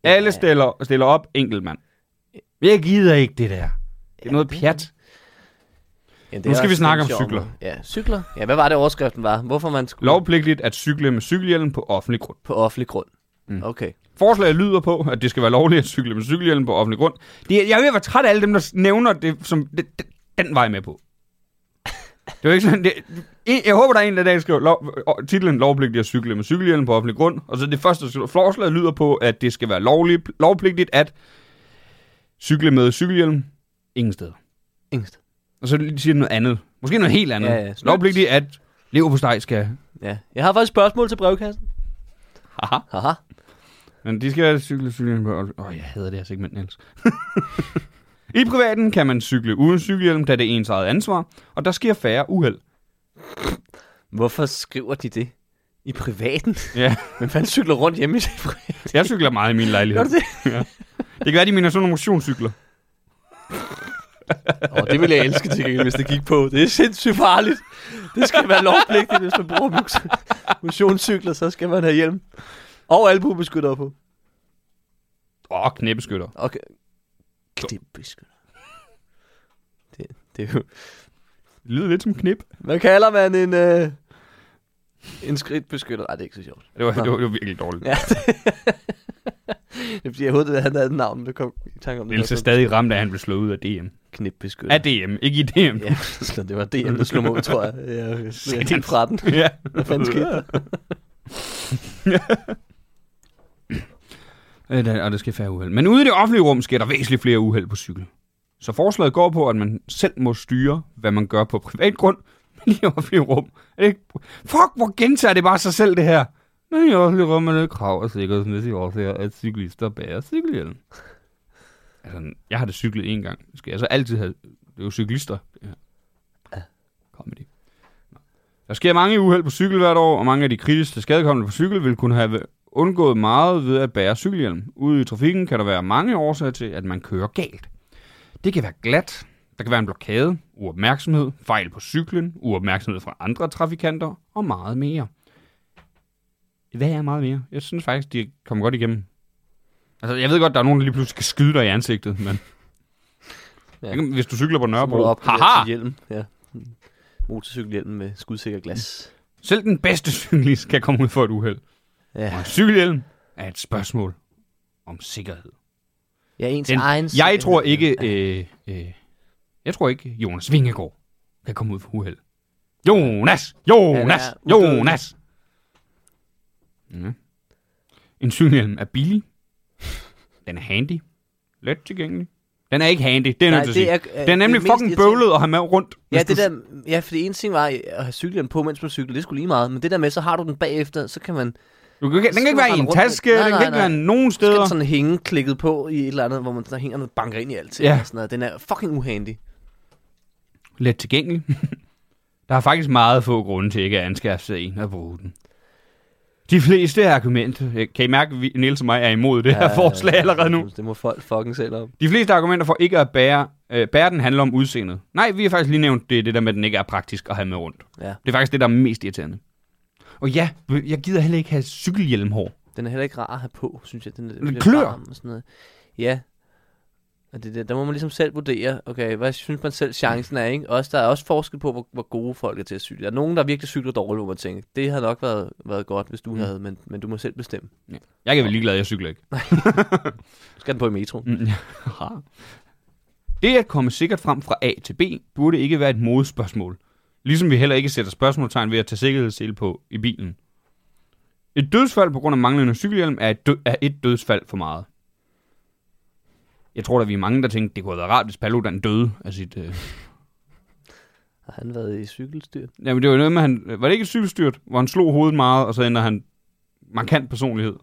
Speaker 1: Alle stiller, stiller op, enkelt mand. Jeg gider ikke det der. Det er noget pjat.
Speaker 3: Jamen,
Speaker 1: Nu skal vi
Speaker 3: også
Speaker 1: snakke om
Speaker 3: lidt sjovt.
Speaker 1: cykler.
Speaker 3: Ja, cykler. Ja, hvad var det overskriften var? Hvorfor man skulle
Speaker 1: Lovpligtigt at cykle med cykelhjelm på offentlig grund.
Speaker 3: på offentlig grund. Mm. Okay.
Speaker 1: Forslaget lyder på, at det skal være lovligt at cykle med cykelhjelm på offentlig grund. Det, er- jeg er ved at være træt af alle dem, der s- nævner det, som det, det, den var jeg med på. Det er jo ikke sådan, det, en- jeg håber, der er en, der i dag skriver lov, og titlen lovpligtigt at cykle med cykelhjelm på offentlig grund. Og så det første der skriver, forslaget lyder på, at det skal være lovligt, lovpligtigt at cykle med cykelhjelm ingen steder.
Speaker 3: Ingst.
Speaker 1: Og så siger det noget andet. Måske noget helt andet.
Speaker 3: Ja, ja.
Speaker 1: lovpligtigt at leverpostej skal...
Speaker 3: Ja. Jeg har faktisk spørgsmål til brevkassen.
Speaker 1: Haha.
Speaker 3: Haha.
Speaker 1: Men de skal cykle, cykle på... Åh, oh, jeg hader det her segment, Niels. I privaten kan man cykle uden cykelhjelm, da det er ens eget ansvar, og der sker færre uheld.
Speaker 3: Hvorfor skriver de det? I privaten?
Speaker 1: Ja,
Speaker 3: Men fanden cykler rundt hjemme i sin privat?
Speaker 1: jeg cykler meget i min lejlighed.
Speaker 3: Gør du det?
Speaker 1: Det kan være, de mener sådan nogle motionscykler.
Speaker 3: Åh, oh, det ville jeg elske til gengæld, hvis det gik på. Det er sindssygt farligt. Det skal være lovpligtigt, hvis man bruger mus- motionscykler, så skal man have hjelm. Og albuebeskyttere på.
Speaker 1: Åh, oh, knæbeskytter.
Speaker 3: Okay. Knipbeskytter. Det, det er jo...
Speaker 1: Det lyder lidt som knip.
Speaker 3: Hvad kalder man en... Øh, en skridtbeskytter? Nej, det er ikke så sjovt.
Speaker 1: Det var, det var, det var virkelig dårligt. Ja.
Speaker 3: Ja, det... det er fordi, jeg håbede, at han havde et navn, der kom i tanke om det.
Speaker 1: Niels er stadig ramt, da han blev slået ud af DM.
Speaker 3: knipbeskytter.
Speaker 1: Af DM, ikke i DM.
Speaker 3: Ja, så det var DM, der slog mig ud, tror jeg. Jeg blev helt fra den.
Speaker 1: Ja.
Speaker 3: Hvad fanden skete der?
Speaker 1: Øh, der- Og der sker færre uheld. Men ude i det offentlige rum sker der væsentligt flere uheld på cykel. Så forslaget går på, at man selv må styre, hvad man gør på privat grund, men i det offentlige rum. Er det ikke... Fuck, hvor gentager det bare sig selv, det her. Men i det offentlige rum er det et krav og sikkerhedsmæssige årsager, at cyklister bærer cykelhjelm. Altså, jeg har det cyklet en gang. Det skal jeg så altid have... Det er jo cyklister. Ja. Comedy. Der sker mange uheld på cykel hvert år, og mange af de kritiske skadekommende på cykel vil kunne have undgået meget ved at bære cykelhjelm. Ude i trafikken kan der være mange årsager til, at man kører galt. Det kan være glat, der kan være en blokade, uopmærksomhed, fejl på cyklen, uopmærksomhed fra andre trafikanter og meget mere. Hvad er meget mere? Jeg synes faktisk, de kommer godt igennem. Altså, jeg ved godt, der er nogen, der lige pludselig skal skyde dig i ansigtet, men...
Speaker 3: Ja.
Speaker 1: Ja. Hvis du cykler på
Speaker 3: Så må du
Speaker 1: Nørrebro...
Speaker 3: op
Speaker 1: Haha!
Speaker 3: til hjelm. Ja. Motorcykelhjelm med skudsikker glas.
Speaker 1: Selv den bedste cyklist kan komme ud for et uheld. Og
Speaker 3: Ja,
Speaker 1: en cykelhjelm er et spørgsmål om sikkerhed.
Speaker 3: ja ens
Speaker 1: Den,
Speaker 3: egen...
Speaker 1: jeg tror ikke, øh, øh, jeg tror ikke, Jonas Vingegaard kan komme ud for uheld. Jonas! Jonas!
Speaker 3: Han er udødelig.
Speaker 1: Jonas! Ja. En cykelhjelm er billig. Den er handy. Let tilgængelig. Den er ikke handy, det er jeg
Speaker 3: Nej,
Speaker 1: nødt til at
Speaker 3: det
Speaker 1: sige.
Speaker 3: er, øh,
Speaker 1: den er nemlig
Speaker 3: det mest
Speaker 1: fucking
Speaker 3: irriterende.
Speaker 1: bøvlet at have med rundt.
Speaker 3: Ja,
Speaker 1: hvis
Speaker 3: det
Speaker 1: du-
Speaker 3: der, ja, fordi en ting var at have cyklen på, mens man cykler, det skulle lige meget. Men det der med, så har du den bagefter, så kan man
Speaker 1: du kan, ikke- den
Speaker 3: skal
Speaker 1: kan ikke
Speaker 3: du
Speaker 1: være i
Speaker 3: rende
Speaker 1: en
Speaker 3: rundt med-
Speaker 1: taske,
Speaker 3: Nej,
Speaker 1: den
Speaker 3: nej,
Speaker 1: kan ikke
Speaker 3: nej.
Speaker 1: være nogen
Speaker 3: Så skal
Speaker 1: steder.
Speaker 3: den sådan hænge klikket på i et eller andet, hvor man der hænger noget banker ind i alt.
Speaker 1: Ja.
Speaker 3: Ja. Og sådan noget. Den er fucking uhandy.
Speaker 1: let tilgængelig. Der er faktisk meget få grunde til ikke at anskaffe sig en og bruge den. De fleste argumenter, kan I mærke, at Niels og mig er imod det her forslag allerede nu?
Speaker 3: Det må folk fucking selv om.
Speaker 1: De fleste argumenter for ikke at bære, øh, bære den handler om udseendet. Nej, vi har faktisk lige nævnt det, det der med, at den ikke er praktisk at have med rundt.
Speaker 3: Ja.
Speaker 1: Det er faktisk det, der er mest irriterende. Og ja, jeg gider heller ikke have cykelhjelmhår.
Speaker 3: Den er heller ikke rar at have på, synes jeg. Den, er- den bliver
Speaker 1: klør.
Speaker 3: varm og sådan noget. Ja. Og det der, der må man ligesom selv vurdere, okay, hvad synes man selv chancen er, ikke? Også, der er også forskel på, hvor, hvor gode folk er til at cykle. Der er nogen, der virkelig cykler dårligt, hvor man tænker, det havde nok været, været godt, hvis du mm. havde, men, men du må selv bestemme.
Speaker 1: Jeg kan være ligeglad, jeg cykler ikke.
Speaker 3: Du skal den på i metroen.
Speaker 1: Mm, ja. det at komme sikkert frem fra A til B, burde ikke være et modespørgsmål. Ligesom vi heller ikke sætter spørgsmålstegn ved at tage sikkerhedssele på i bilen. Et dødsfald på grund af manglende cykelhjelm er et, død, er et dødsfald for meget. Jeg tror, at vi er mange, der tænkte, det kunne have været rart, hvis Paludan døde af sit... Øh...
Speaker 3: Har han været i cykelstyr?
Speaker 1: Jamen, det var jo noget med, han... Var det ikke et cykelstyrt, hvor han slog hovedet meget, og så ændrer han markant personlighed?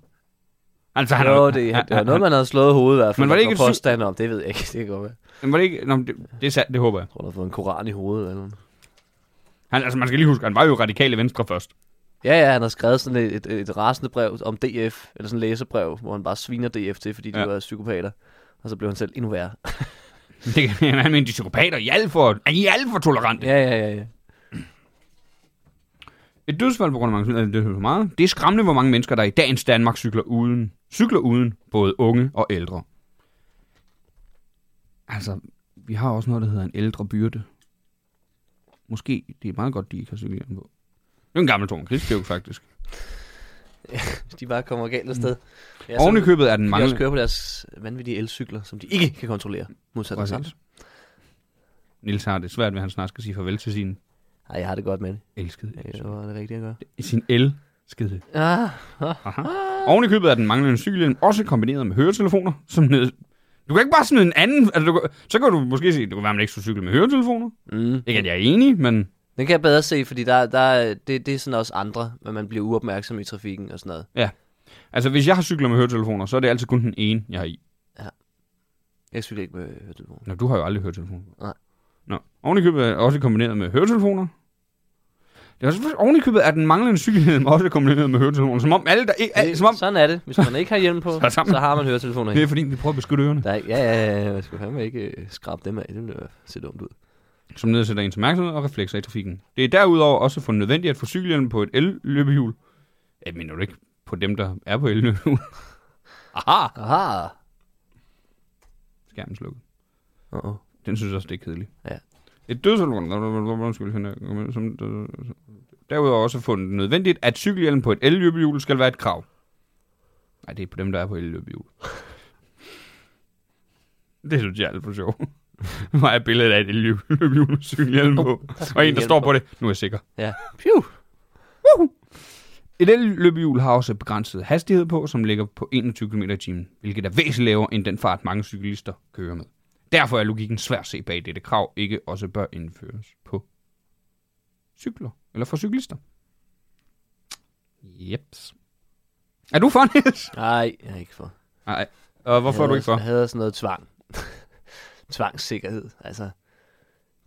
Speaker 1: Altså, han
Speaker 3: jo,
Speaker 1: er-
Speaker 3: det,
Speaker 1: han-
Speaker 3: det var
Speaker 1: han-
Speaker 3: noget, man havde slået hovedet i hvert fald.
Speaker 1: Men var det ikke et
Speaker 3: et
Speaker 1: syg-
Speaker 3: påstand om? Det ved jeg ikke. Det kan godt være. Jeg
Speaker 1: Men var det ikke... Nå, men det, det er sandt, det håber jeg.
Speaker 3: tror, han har fået en koran i hovedet eller noget.
Speaker 1: Han, altså, man skal lige huske, han var jo radikale venstre først.
Speaker 3: Ja, ja, han har skrevet sådan et, et, et rasende brev om DF, eller sådan et læserbrev, hvor han bare sviner DF til, fordi de
Speaker 1: Ja.
Speaker 3: var psykopater. Og så blev han selv endnu værre.
Speaker 1: Det, han mente, de psykopater, I er alt for, er I alt for tolerante.
Speaker 3: Ja, ja, ja. ja.
Speaker 1: Et dødsfald på grund af manglende cykelhjelm, det er for meget. Det er skræmmende, hvor mange mennesker, der i dagens Danmark cykler uden. Cykler uden, både unge og ældre. Altså, vi har også noget, der hedder en ældre byrde. Måske, det er meget godt, de ikke har cykelhjelm på. Det er en gammel Torben Krigsbjerg, faktisk.
Speaker 3: De bare kommer galt afsted. Ja,
Speaker 1: Mm. Oven i købet er den
Speaker 3: mange... De også
Speaker 1: manglende...
Speaker 3: kører på deres vanvittige elcykler, som de ikke kan kontrollere. Modsat os andre.
Speaker 1: Præcis. Niels har det svært ved, at han snart skal sige farvel til sin
Speaker 3: Ej, jeg har det godt med det.
Speaker 1: elskede.
Speaker 3: Det var det rigtige at gøre.
Speaker 1: Sin elskede.
Speaker 3: Ah,
Speaker 1: Aha. Oven i købet er den manglende cykelhjelm også kombineret med høretelefoner, som ned... Du kan ikke bare smide en anden... Altså, du kan, så kan du måske sige, det kunne være, man ikke skulle cykle med høretelefoner.
Speaker 3: mm.
Speaker 1: Ikke, at jeg er enig, men...
Speaker 3: Den kan jeg bedre se, fordi der, der, det, det er sådan også andre, når man bliver uopmærksom i trafikken og sådan noget.
Speaker 1: Altså, hvis jeg har cykler med høretelefoner, så er det altid kun den ene, jeg har i.
Speaker 3: Jeg cykler ikke med høretelefoner.
Speaker 1: Nå, du har jo aldrig høretelefoner.
Speaker 3: Nej.
Speaker 1: Nå, oven i købet er også kombineret med høretelefoner. Det er også, oven i købet er den manglende cykelhjelm også kombineret med høretelefoner. Som om alle, der ikke... al-
Speaker 3: Det-
Speaker 1: Som om,
Speaker 3: Sådan er det. Hvis man ikke har hjelm på,
Speaker 1: Så er sammen.
Speaker 3: så har man høretelefoner
Speaker 1: det er
Speaker 3: i.
Speaker 1: fordi, vi prøver at beskytte ørerne.
Speaker 3: Der er, ikke- ja, ja, ja, man skal fandme ikke øh, skrabe dem af. Det ville jo se dumt ud.
Speaker 1: som nedsætter ens opmærksomhed og reflekser i trafikken. Det er derudover også for nødvendigt at få cykelhjelm på et el-løbehjul. Jeg mener du ikke på dem, der er på el-løbehjul? Aha!
Speaker 3: Aha!
Speaker 1: Skærmen slukket.
Speaker 3: Uh-oh.
Speaker 1: Den synes jeg også, det er kedeligt.
Speaker 3: Ja.
Speaker 1: Et dødsfald... Derudover også fundet nødvendigt, at cykelhjelm på et el-løbehjul skal være et krav. Nej, det er på dem, der er på el-løbehjul. Det synes jeg er alt for sjovt. Nu har jeg et billede af et el-løbehjul med cykelhjelm på. Og en, der står på det. Nu er jeg sikker.
Speaker 3: Ja. Piu!
Speaker 1: Et elløbehjul har også begrænset hastighed på, som ligger på 21 km i timen, hvilket er væsentligt lavere end den fart, mange cyklister kører med. Derfor er logikken svær at se bag dette krav, ikke også bør indføres på cykler, eller for cyklister. Jeps. Er du for, Niels?
Speaker 3: Nej, jeg er ikke for.
Speaker 1: Nej. Og hvorfor er
Speaker 3: jeg
Speaker 1: du ikke for?
Speaker 3: Jeg havde sådan noget tvang. Tvangssikkerhed. Altså,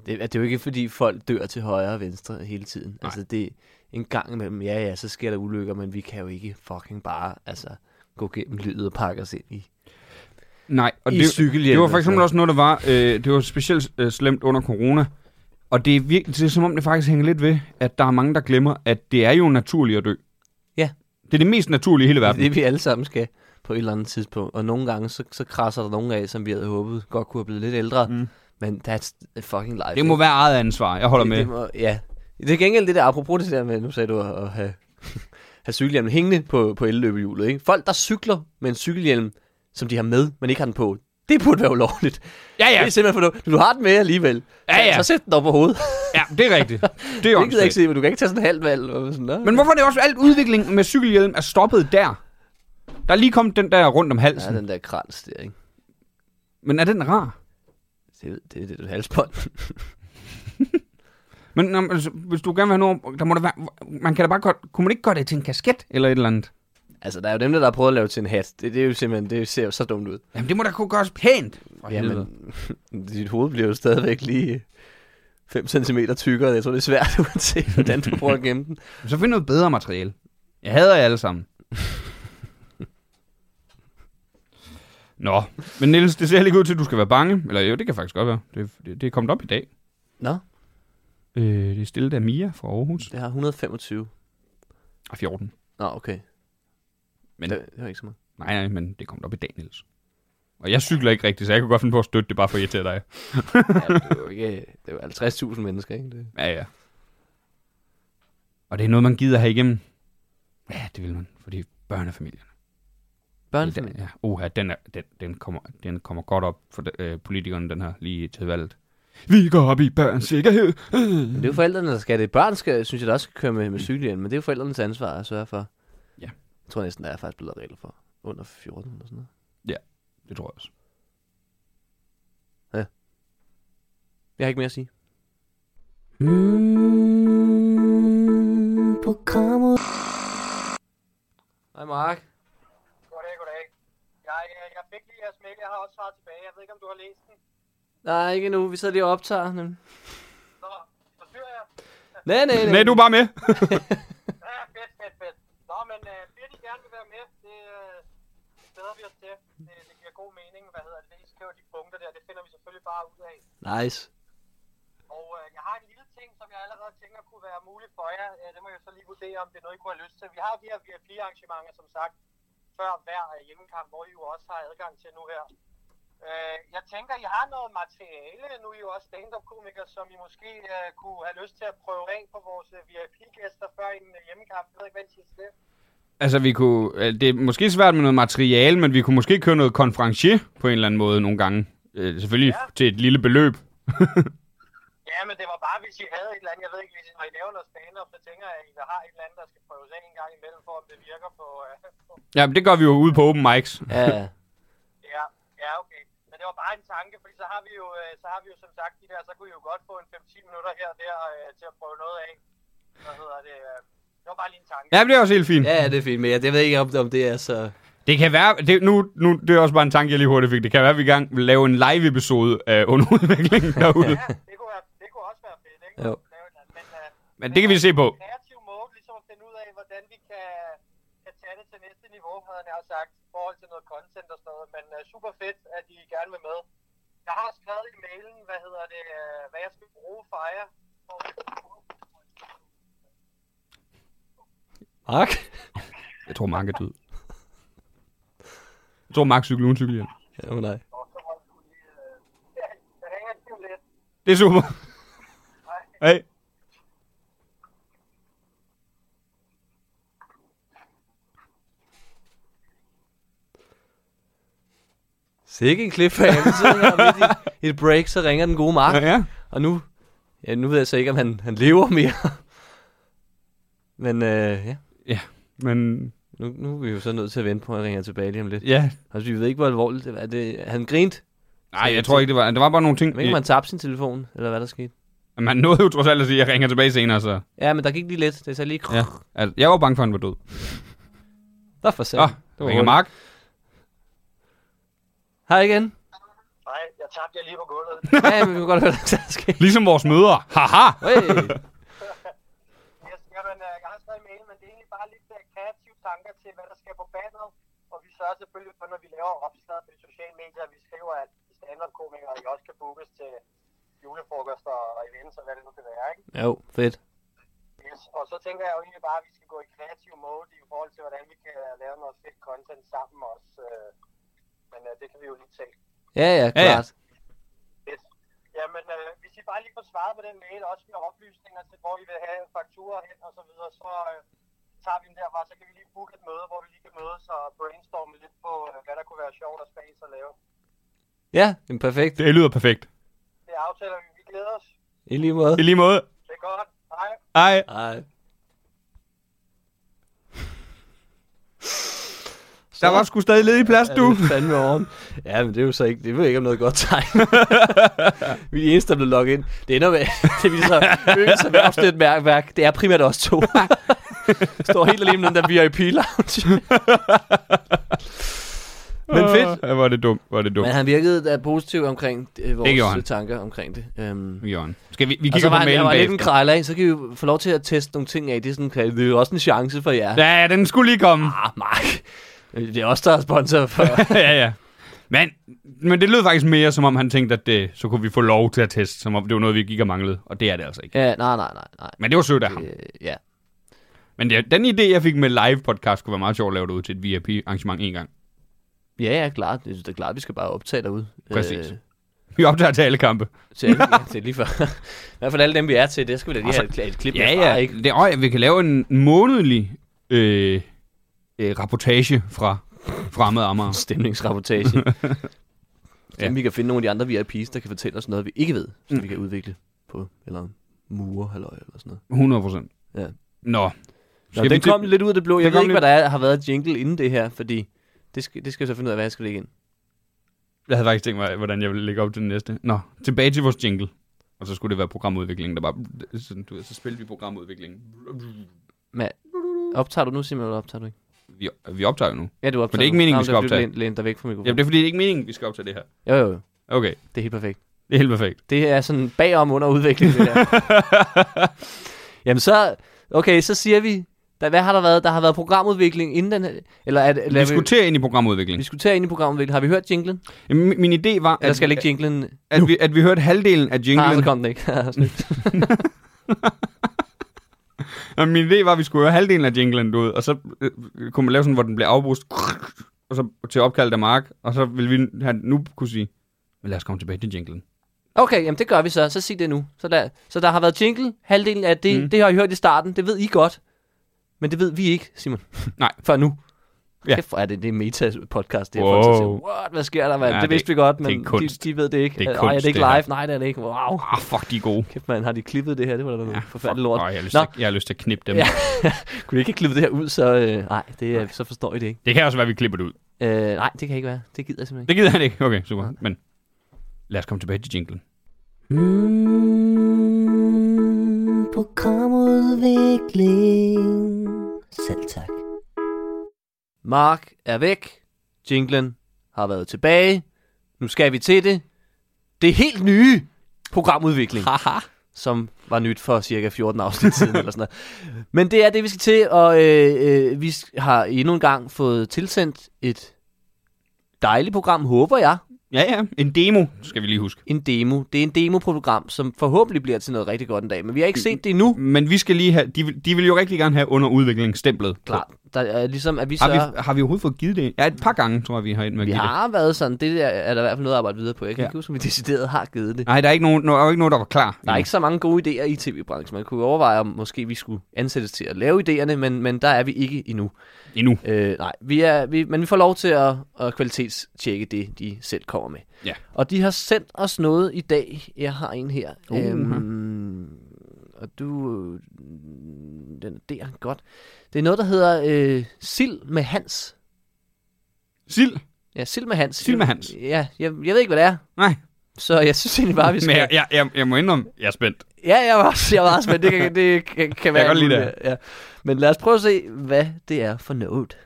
Speaker 3: det, er- det er jo ikke, fordi folk dør til højre og venstre hele tiden. Nej. Altså, det er en gang imellem, ja, ja, så sker der ulykker, men vi kan jo ikke fucking bare, altså, gå gennem livet og pakke os ind i.
Speaker 1: Nej, og
Speaker 3: i
Speaker 1: det,
Speaker 3: cykelhjelm
Speaker 1: det var
Speaker 3: og
Speaker 1: for
Speaker 3: sådan
Speaker 1: eksempel
Speaker 3: noget.
Speaker 1: også noget, der var, øh, det var specielt øh, slemt under corona. Og det er, virkelig, det er som om, det faktisk hænger lidt ved, at der er mange, der glemmer, at det er jo naturligt at dø.
Speaker 3: Ja.
Speaker 1: Det er det mest naturlige i hele
Speaker 3: Det er
Speaker 1: verden.
Speaker 3: det, vi alle sammen skal på et eller andet tidspunkt. Og nogle gange, så, så krasser der nogen af, som vi havde håbet godt kunne have blevet lidt ældre. Mm. Men that's a fucking life.
Speaker 1: Det må være eget ansvar. Jeg holder
Speaker 3: det,
Speaker 1: med.
Speaker 3: Det må, ja. Det er gengæld det der, apropos det der med, nu sagde du at, at have, have cykelhjelmen hængende på, på elløbehjulet. Ikke? Folk, der cykler med en cykelhjelm, som de har med, men ikke har den på, det burde være ulovligt.
Speaker 1: Ja,
Speaker 3: Ja. Det
Speaker 1: ja,
Speaker 3: er simpelthen for du, du har den med alligevel.
Speaker 1: Ja, ja.
Speaker 3: Så, så sæt den op på hovedet.
Speaker 1: ja, det er rigtigt. Det er
Speaker 3: Det gider jeg ikke
Speaker 1: åndssvagt.
Speaker 3: se, men du kan ikke tage sådan en halv valg. Og sådan, "Nå."
Speaker 1: Men hvorfor er det også alt udvikling med cykelhjelm er stoppet der? Der er lige kommet den der rundt om
Speaker 3: Ja,
Speaker 1: halsen.
Speaker 3: den der krans der, ikke?
Speaker 1: Men er den rar?
Speaker 3: Det, det, det, det er et halsbånd.
Speaker 1: Men nå, men altså, hvis du gerne vil have noget, der må der være, man kan da bare godt, kunne man ikke gøre det til en kasket eller et eller andet?
Speaker 3: altså, der er jo dem, der, der har prøvet at lave det til en hat. Det, det er jo simpelthen, det ser jo så dumt ud.
Speaker 1: Jamen det må da kunne gøres pænt. For helvede.
Speaker 3: Jamen, dit hoved bliver jo stadigvæk lige 5 cm tykkere. Jeg tror, det er svært, uanset hvordan du prøver at gemme den.
Speaker 1: Så find noget bedre materiale. Jeg hader jer alle sammen. Nå, men Niels, det ser heller ikke ud til, at du skal være bange. Eller jo, det kan faktisk godt være. Det, det, det er kommet op i dag.
Speaker 3: Nå,
Speaker 1: Øh, det er stillet af Mia fra Aarhus. Ah,
Speaker 3: det har 125.
Speaker 1: Og 14.
Speaker 3: Nå, okay.
Speaker 1: Men-
Speaker 3: Men... Det, det var ikke så meget.
Speaker 1: Nej, nej, men det er kommet op i dag, Niels. Og jeg cykler ikke rigtigt, så jeg kunne godt finde på at støtte det, bare for at irritere dig.
Speaker 3: Ja, men det var ikke... Det var 50.000 mennesker, ikke? Det...
Speaker 1: Ja, ja. Og det er noget, man gider have igennem. Ja, det vil man, fordi børnefamilierne.
Speaker 3: Børnefamilie.
Speaker 1: Den, ja, oha, den, er, den, den, kommer, den kommer godt op for de, øh, politikerne, den her, lige til valget. Vi går op i børns sikkerhed.
Speaker 3: Mm. Men det er jo forældrene, der skal det. Børn skal, synes jeg, der også skal køre med, med cykelhjelm, men det er jo forældrenes ansvar at sørge for.
Speaker 1: Ja.
Speaker 3: Jeg tror næsten, der er faktisk blevet regler for. Under 14 eller sådan noget.
Speaker 1: Det tror jeg også.
Speaker 3: Jeg har ikke mere at sige.
Speaker 5: Mm, programmet.
Speaker 3: Hej Mark.
Speaker 6: Goddag, goddag. Jeg, øh, jeg fik lige jeres mail, jeg har også svaret tilbage. Jeg ved ikke, om du har læst den.
Speaker 3: Nej, ikke endnu. Vi sidder lige og optager. nemlig.
Speaker 6: Nå, forstyrrer jeg?
Speaker 3: Nej, nej,
Speaker 1: Nej, du er bare med.
Speaker 6: Ja, fedt, fedt, fedt. Nå, men øh, bliver de gerne vil være med, det, øh, det glæder vi os til. Det, det giver god mening, hvad hedder det, I skriver de punkter der, det finder vi selvfølgelig bare ud af.
Speaker 3: Nice.
Speaker 6: Og øh, jeg har en lille ting, som jeg allerede tænker kunne være muligt for jer. Øh, det må jeg så lige vurdere, om det er noget, I kunne have lyst til. Vi har jo de her VIP-arrangementer, som sagt, før hver øh, hjemmekamp, hvor I jo også har adgang til nu her. Øh, jeg tænker, I har noget materiale, nu er I jo også stand-up-komikere, som I måske øh, kunne have lyst til at prøve af på vores øh, VIP-gæster før en øh, hjemmekamp. Jeg ved ikke, hvad I siger til det.
Speaker 1: Altså, vi kunne, øh, det er måske svært med noget materiale, men vi kunne måske køre noget konferencier på en eller anden måde nogle gange. Øh, selvfølgelig ja.
Speaker 6: Ja.
Speaker 1: til et lille beløb.
Speaker 6: Ja, men det var bare, hvis I havde et eller andet, jeg ved ikke, hvis I, når I laver noget stand-up, så tænker jeg, at I har et eller andet, der skal prøves af en gang imellem, for om det virker på, øh, på
Speaker 1: Ja, men det gør vi jo ude på open mics.
Speaker 3: Ja, ja.
Speaker 6: Ja, ja, okay. Men det var bare en tanke, fordi så har vi jo, øh, så har vi jo som sagt de der, så kunne I jo godt få en 5-10 minutter her og der øh, til at prøve noget af. Hvad hedder det? øh, Det var bare lige en tanke.
Speaker 1: Ja, men det er også helt fint. Ja.
Speaker 3: ja, det er fint. Men jeg, jeg ved ikke, om, om det er så...
Speaker 1: Det kan være, det, nu, nu, det er også bare en tanke, jeg lige hurtigt fik. Det kan være, at vi i gang vil lave en live episode af underudviklingen derude.
Speaker 6: ja det, kunne være, det kunne også være fedt, ikke?
Speaker 3: Jo.
Speaker 6: Lave et eller andet. Men øh,
Speaker 1: Men det kan vi se på.
Speaker 6: kreativ måde, ligesom at finde ud af, hvordan vi kan, kan tage det til næste niveau, havde jeg nær sagt, i forhold til noget content og sådan noget. Men øh, super fedt, at I gerne vil med. Jeg har skrevet i mailen, hvad hedder det, øh, hvad jeg skal bruge Fire for.
Speaker 3: Mark?
Speaker 1: Jeg tror, Mark er død. Jeg tror, Mark cykler uden cykelhjelm.
Speaker 3: Ja, oh, nej.
Speaker 6: Og så holdt du lige... Øh, ja, jeg ringer til dem lidt.
Speaker 1: Det er super. Hej.
Speaker 3: Sikke en klip af ham. Så er midt i et break, så ringer den gode Mark.
Speaker 1: Ja, ja.
Speaker 3: Og nu, ja, nu ved jeg så ikke, om han, han lever mere. Men øh, ja,
Speaker 1: Men
Speaker 3: nu, nu er vi jo så nødt til at vente på, at han ringer tilbage lige om lidt.
Speaker 1: ja.
Speaker 3: Altså, vi ved ikke, hvor alvorligt det var. Det, han grinte.
Speaker 1: Nej, jeg tror ikke, det var... Det var bare nogle ting...
Speaker 3: Men ikke, om han tabte sin telefon, eller hvad der skete.
Speaker 1: Man nåede jo trods alt at sige, at jeg ringer tilbage senere, så...
Speaker 3: Ja, men der gik lige lidt. Det så lige...
Speaker 1: Ja.
Speaker 3: Ja.
Speaker 1: Altså, jeg var bange for, at han var død.
Speaker 3: Der for satan.
Speaker 1: Nå, det ringer Mark.
Speaker 3: Hej igen.
Speaker 6: Nej, jeg tabte jer lige på gulvet.
Speaker 3: Ja, men vi kan godt høre, hvad der skete.
Speaker 1: Ligesom vores mødre. Haha!
Speaker 3: Hey.
Speaker 6: Jeg, jeg, men, øh, jeg har skrevet en mail, men det er egentlig bare lidt øh, kreative tanker til, hvad der skal på banen. Og vi sørger selvfølgelig for, når vi laver opslag på de sociale medier, at vi skriver, at stand-up-komikere I også kan bookes til julefrokoster og events og hvad det nu kan være, ikke?
Speaker 3: Jo, fedt.
Speaker 6: Yes. Og så tænker jeg jo egentlig bare, at vi skal gå i kreativ mode i forhold til, hvordan vi kan lave noget fedt content sammen også. øh. Men øh, det kan vi jo lige tale
Speaker 3: Ja, ja,
Speaker 1: Ja, ja.
Speaker 3: klart.
Speaker 6: Fedt. Jamen, øh, hvis I bare lige får svaret på den mail, også med oplysninger til, hvor I vil have fakturer hen og så videre, så øh, tager vi den derfra, så kan vi lige booke et møde, hvor vi lige kan mødes og brainstorme lidt på, øh, hvad der kunne være sjovt og spas at lave.
Speaker 3: Ja, ja men perfekt.
Speaker 1: Det lyder perfekt.
Speaker 6: Det aftaler vi. Vi glæder os.
Speaker 3: I lige måde.
Speaker 1: I lige måde.
Speaker 6: Det er godt. Hej.
Speaker 1: Hej.
Speaker 3: Ej.
Speaker 1: Der var sgu stadig ledig plads,
Speaker 3: Ja,
Speaker 1: du.
Speaker 3: det er fandme oven. Ja, men det er jo så ikke, det er jo ikke om noget godt tegn. vi er de eneste, der blev logget ind. Det ender med, det viser øens erhvervsnetværk. Det er primært os to. Står helt alene med den der VIP-lounge. Men fedt.
Speaker 1: Ja, var det dumt. Var det dumt.
Speaker 3: Men han virkede da positiv omkring øh,
Speaker 1: Det gjorde han.
Speaker 3: vores tanker omkring det. Øhm,
Speaker 1: Jørgen. Skal vi, vi
Speaker 3: og så
Speaker 1: kigger
Speaker 3: var
Speaker 1: på
Speaker 3: han, han
Speaker 1: mailen
Speaker 3: var lidt en
Speaker 1: bagefter.
Speaker 3: krejler af, så kan vi jo få lov til at teste nogle ting af. Det er, sådan, det er jo også en chance for jer.
Speaker 1: Ja, ja, den skulle lige komme.
Speaker 3: Ah, Mark. Det er også der er sponsor for.
Speaker 1: ja, ja. Men, men det lød faktisk mere, som om han tænkte, at det, så kunne vi få lov til at teste, som om det var noget, vi gik og manglede. Og det er det altså ikke.
Speaker 3: ja, nej, nej, nej, nej.
Speaker 1: Men det var sødt af ham.
Speaker 3: Øh, ja.
Speaker 1: Men det, den idé, jeg fik med live-podcast, kunne være meget sjovt at lave det ud til et VIP-arrangement en gang.
Speaker 3: Ja, ja, klart. Det det er klart, vi skal bare optage derude.
Speaker 1: Præcis.
Speaker 3: Øh,
Speaker 1: Vi optager til alle kampe.
Speaker 3: til alle, ja, det er lige for. I hvert fald alle dem, vi er til, det skal vi da lige
Speaker 1: Og så-
Speaker 3: have et, et klip
Speaker 1: Ja,
Speaker 3: med
Speaker 1: ja.
Speaker 3: fra, ikke?
Speaker 1: Det, og, vi kan lave en månedlig øh, øh, rapportage fra fremmede Amager.
Speaker 3: Stemningsrapportage.
Speaker 1: Ja. Mm.
Speaker 3: ja. vi kan finde nogle af de andre VIP's, der kan fortælle os noget, vi ikke ved, som vi kan udvikle på, eller mure, halløj, eller sådan noget.
Speaker 1: 100 procent.
Speaker 3: Ja.
Speaker 1: Nå,
Speaker 3: Nå,
Speaker 1: Skal vi
Speaker 3: den
Speaker 1: til-
Speaker 3: kom lidt ud af det blå. Jeg
Speaker 1: Den
Speaker 3: ved
Speaker 1: kom lidt-
Speaker 3: ikke, hvad der er, har været jingle inden det her, fordi det skal, det skal jeg så finde ud af, hvad jeg skal lægge ind.
Speaker 1: Jeg havde faktisk tænkt mig, hvordan jeg ville lægge op til den næste. Nå, tilbage til vores jingle. Og så skulle det være programudviklingen, der bare... Sådan, du ved, så spillede vi programudviklingen.
Speaker 3: Men optager du nu, Simon, eller optager du ikke?
Speaker 1: Vi, vi optager jo nu.
Speaker 3: Ja, du optager.
Speaker 1: Men det er ikke
Speaker 3: nu.
Speaker 1: meningen,
Speaker 3: Nå,
Speaker 1: vi skal
Speaker 3: det er fordi,
Speaker 1: optage.
Speaker 3: du Læn, læn dig væk fra mikrofonen.
Speaker 1: Jamen, det er fordi, det er ikke meningen, vi skal optage det her.
Speaker 3: Jo, jo, jo.
Speaker 1: Okay,
Speaker 3: Det er helt perfekt.
Speaker 1: det er helt perfekt.
Speaker 3: Det er sådan bagom under udvikling, det der. Jamen så, okay, så siger vi, der, hvad har der været? Der har været programudvikling inden den her, eller er det,
Speaker 1: Vi
Speaker 3: lader vi,
Speaker 1: diskuterer ind i programudviklingen.
Speaker 3: diskuterer ind i programudvikling. Har vi hørt jinglen?
Speaker 1: Jamen, Min, min idé var,
Speaker 3: Eller
Speaker 1: at,
Speaker 3: skal jeg lægge jinglen?
Speaker 1: at, vi, at vi hørte halvdelen af jinglen.
Speaker 3: Ah, så kom den ikke. Snydt.
Speaker 1: Nå, min idé var, at vi skulle høre halvdelen af jinglen, du ved, og så øh, kunne man lave sådan, hvor den blev afbrudt, og så til opkaldet af Mark, og så ville vi have, nu kunne sige, men lad os komme tilbage til jinglen.
Speaker 3: okay, jamen det gør vi så. Så sig det nu. Så der, så der har været jingle. Halvdelen af det, mm. det har I hørt i starten. Det ved I godt. Men det ved vi ikke, Simon.
Speaker 1: Nej.
Speaker 3: Før nu.
Speaker 1: Ja.
Speaker 3: Ja. Kæft, hvor er det, det er meta-podcast, det her. Wow. Folk
Speaker 1: Wow.
Speaker 3: så siger, What, hvad sker der,
Speaker 1: Ja,
Speaker 3: mand? Ja, det,
Speaker 1: det-
Speaker 3: vidste vi godt,
Speaker 1: det er
Speaker 3: men de,
Speaker 1: kunst.
Speaker 3: de ved det ikke.
Speaker 1: Det er
Speaker 3: Øh, Ej, er
Speaker 1: kunst,
Speaker 3: det ikke
Speaker 1: det her."
Speaker 3: live? Nej, det er det ikke. Wow.
Speaker 1: Ah, fuck, de er gode.
Speaker 3: Kæft, man, har de klippet det her? Det var da noget ja, forfærdeligt lort.
Speaker 1: Åh, jeg, har lyst
Speaker 3: Nå.
Speaker 1: til, at- jeg har lyst til at knippe dem.
Speaker 3: Ja. Kunne I ikke have klippet det her ud, så, øh, nej, det, øh, så forstår I det ikke.
Speaker 1: Det kan også være, at vi klipper det ud.
Speaker 3: Øh, nej, det kan ikke være. Det gider jeg simpelthen ikke.
Speaker 1: Det gider han ikke. Okay, super. Men lad os komme tilbage til jinglen.
Speaker 5: Mm, programudvikling. Selv tak.
Speaker 3: Mark er væk. Jinglen har været tilbage. Nu skal vi til det. Det helt nye programudvikling. Haha. Som var nyt for cirka 14 afsnit siden eller sådan noget. Men det er det, vi skal til, og øh, øh, vi s- har endnu en gang fået tilsendt et dejligt program, håber jeg.
Speaker 1: Ja, ja. En demo, skal vi lige huske.
Speaker 3: En demo. Det er en demoprogram, som forhåbentlig bliver til noget rigtig godt en dag, men vi har ikke set det endnu.
Speaker 1: Men vi skal lige have... De, vil- de vil jo rigtig gerne have under udviklingsstemplet.
Speaker 3: Klart. Der er ligesom, at vi så...
Speaker 1: Har vi, har vi overhovedet fået givet det? Ja, et par gange, tror jeg, vi har ind med at
Speaker 3: Vi
Speaker 1: give det.
Speaker 3: har været sådan, det der er der i hvert fald noget at arbejde videre på. Jeg kan
Speaker 1: Ja.
Speaker 3: ja. ikke huske, om vi decideret har givet det.
Speaker 1: Nej, der er ikke nogen, der, er jo ikke nogen, der var klar.
Speaker 3: Der er ikke så mange gode idéer i tv-branchen. Man kunne overveje, om måske vi skulle ansættes til at lave idéerne, men, men der er vi ikke endnu.
Speaker 1: Endnu.
Speaker 3: Øh, nej, vi er, vi, men vi får lov til at, at kvalitetstjekke det, de selv kommer med.
Speaker 1: Ja.
Speaker 3: Og de har sendt os noget i dag. Jeg har en her.
Speaker 1: Uh,
Speaker 3: Øhm, og du... øh, Den er der, godt. Det er noget, der hedder øh, Sild med Hans.
Speaker 1: Sild?
Speaker 3: Ja, Sild med Hans.
Speaker 1: Sild med Hans.
Speaker 3: Ja, jeg, jeg ved ikke, hvad det er.
Speaker 1: Nej.
Speaker 3: Så jeg synes egentlig bare, vi skal...
Speaker 1: Men jeg, jeg, jeg, jeg må indrømme, jeg er spændt.
Speaker 3: Ja, jeg var også, jeg var også men det kan, det kan, kan være...
Speaker 1: kan godt lide
Speaker 3: alt muligt, Ja. Men lad os prøve at se, hvad det er for noget.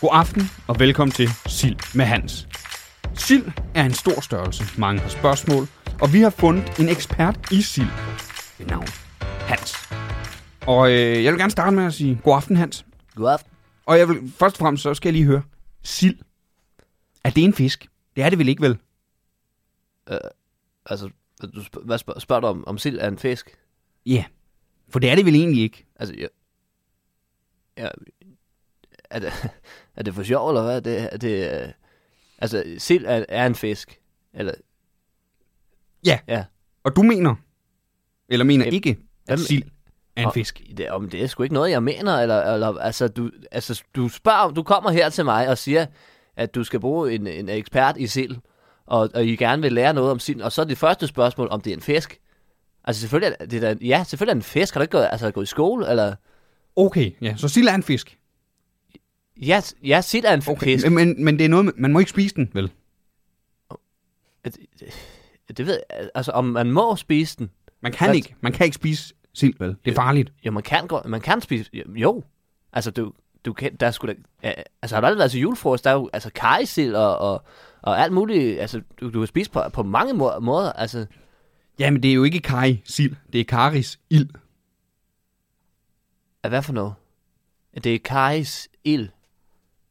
Speaker 1: God aften og velkommen til Sild med Hans. Sild er en stor størrelse. Mange har spørgsmål, og vi har fundet en ekspert i sild ved navn Hans. Og øh, jeg vil gerne starte med at sige god aften, Hans.
Speaker 3: God aften.
Speaker 1: Og jeg vil, først og fremmest, så skal jeg lige høre. Sild. Er det en fisk? Det er det vel ikke, vel?
Speaker 3: Altså, du spørger, hvad spørger, spørger du om, om sild er en fisk?
Speaker 1: Ja. Yeah. For det er det vel egentlig ikke.
Speaker 3: Altså, jeg... jeg er, det, er det for sjov, eller hvad? Er det, er det, øh, altså, sild er, er en fisk. Eller,
Speaker 1: Ja.
Speaker 3: Ja.
Speaker 1: Og du mener, eller mener
Speaker 3: Jamen,
Speaker 1: ikke, at
Speaker 3: jamen,
Speaker 1: sild er en
Speaker 3: og-
Speaker 1: fisk.
Speaker 3: det, om det er sgu ikke noget, jeg mener. Eller, eller, altså, du, altså, du, spørger, du kommer her til mig og siger, at du skal bruge en, en ekspert i sild, og, og I gerne vil lære noget om sild. Og så er det første spørgsmål, om det er en fisk. Altså selvfølgelig er det da, ja, selvfølgelig er det en fisk. Har du ikke gået, altså, gået i skole? Eller?
Speaker 1: Okay, ja. Så sild er en fisk.
Speaker 3: Ja, s- ja sild er en okay,
Speaker 1: Okay,
Speaker 3: fisk.
Speaker 1: men- men, men det er noget med, man må ikke spise den, vel?
Speaker 3: Det ved jeg, altså om man må spise den.
Speaker 1: Man kan
Speaker 3: Hvad?
Speaker 1: ikke, man kan ikke spise sild, vel? Det er farligt.
Speaker 3: Jo, man kan, godt- man kan spise, jo. Altså du, du kan, der skulle da, ja, altså har du aldrig været til julefrokost, der er jo altså kajsild og, og, og alt muligt, altså du, du kan spise på, på mange må- måder, altså.
Speaker 1: Jamen, det er jo ikke kaj sild, det er karis ild.
Speaker 3: Af Hvad for noget? Det er kajs ild.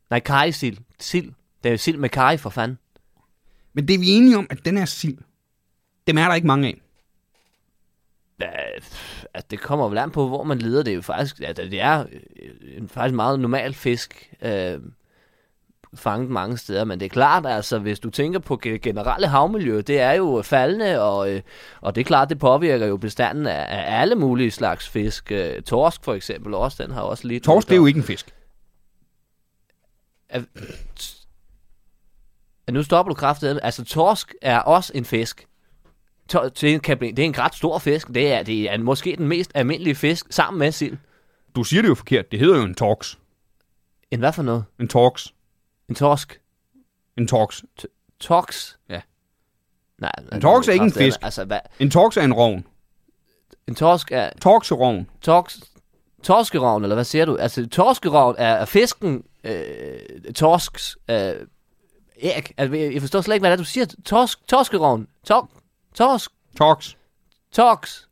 Speaker 3: Nej, kajsild. Sild. Det er jo sild med kaj, for fanden.
Speaker 1: Men det er vi enige om, at den her sild, dem er der ikke mange af.
Speaker 3: Ja, pff, altså, det kommer vel an på, hvor man leder det er jo faktisk. Altså, det er øh, en faktisk meget normal fisk, øh, fanget mange steder, men det er klart, altså, hvis du tænker på ge- generelle havmiljø, det er jo faldende, og, øh, og det er klart, det påvirker jo bestanden af, af alle mulige slags fisk. Øh, torsk for eksempel også, den har også lidt...
Speaker 1: Torsk, det er jo ikke en fisk.
Speaker 3: Ja, nu stopper du kraftedet. Altså, torsk er også en fisk. to- til en kabin. Det er en ret stor fisk. Det er, det er måske den mest almindelige fisk sammen med sild.
Speaker 1: Du siger det jo forkert. Det hedder jo en torx.
Speaker 3: En hvad for noget?
Speaker 1: En torx.
Speaker 3: En torsk.
Speaker 1: En torx.
Speaker 3: Torks?
Speaker 1: Ja.
Speaker 3: Nej,
Speaker 1: En torsk er ikke en
Speaker 3: kraftedeme-
Speaker 1: fisk.
Speaker 3: Altså, hvad?
Speaker 1: En torx er en rovn.
Speaker 3: En torsk er
Speaker 1: Torxerovn.
Speaker 3: torks, torskeravn, eller hvad siger du? Altså, torskeravn er, er fisken, øh, torsks, øh, æg. Altså, jeg jeg forstår slet ikke, hvad det er, du siger. Torsk, torskeravn, tok, torsk,
Speaker 1: Torx.
Speaker 3: torks,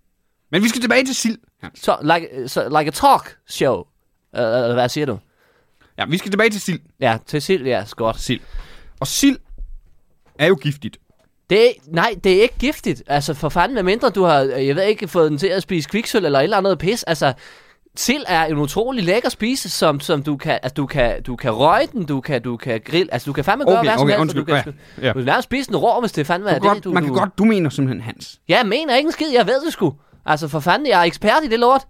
Speaker 1: Men vi skal tilbage til sild. Ja.
Speaker 3: to, like, so, like a talk show. Øh, Eller hvad siger du?
Speaker 1: ja, vi skal tilbage til sild.
Speaker 3: Ja, til sild, ja, godt.
Speaker 1: Sild. Og sild er jo giftigt.
Speaker 3: Det er, nej, det er ikke giftigt. Altså, for fanden, medmindre du har, øh, jeg ved ikke, fået den til at spise kviksøl eller et eller andet pis. Altså, sild er en utrolig lækker spise, som, som du kan, altså, du kan, du kan røge den, du kan, du kan grille, altså, du kan fandme gøre
Speaker 1: Okay,
Speaker 3: hvad som
Speaker 1: okay,
Speaker 3: helst, og
Speaker 1: undskyld.
Speaker 3: du kan,
Speaker 1: Ja, ja.
Speaker 3: du kan nærmest spise den rå, hvis det fandme er
Speaker 1: Du kan godt,
Speaker 3: det, du,
Speaker 1: man kan
Speaker 3: du,
Speaker 1: godt, du mener simpelthen Hans.
Speaker 3: Ja, Jeg mener ikke en skid, jeg ved det sgu. Altså, for fanden, jeg er ekspert i det lort.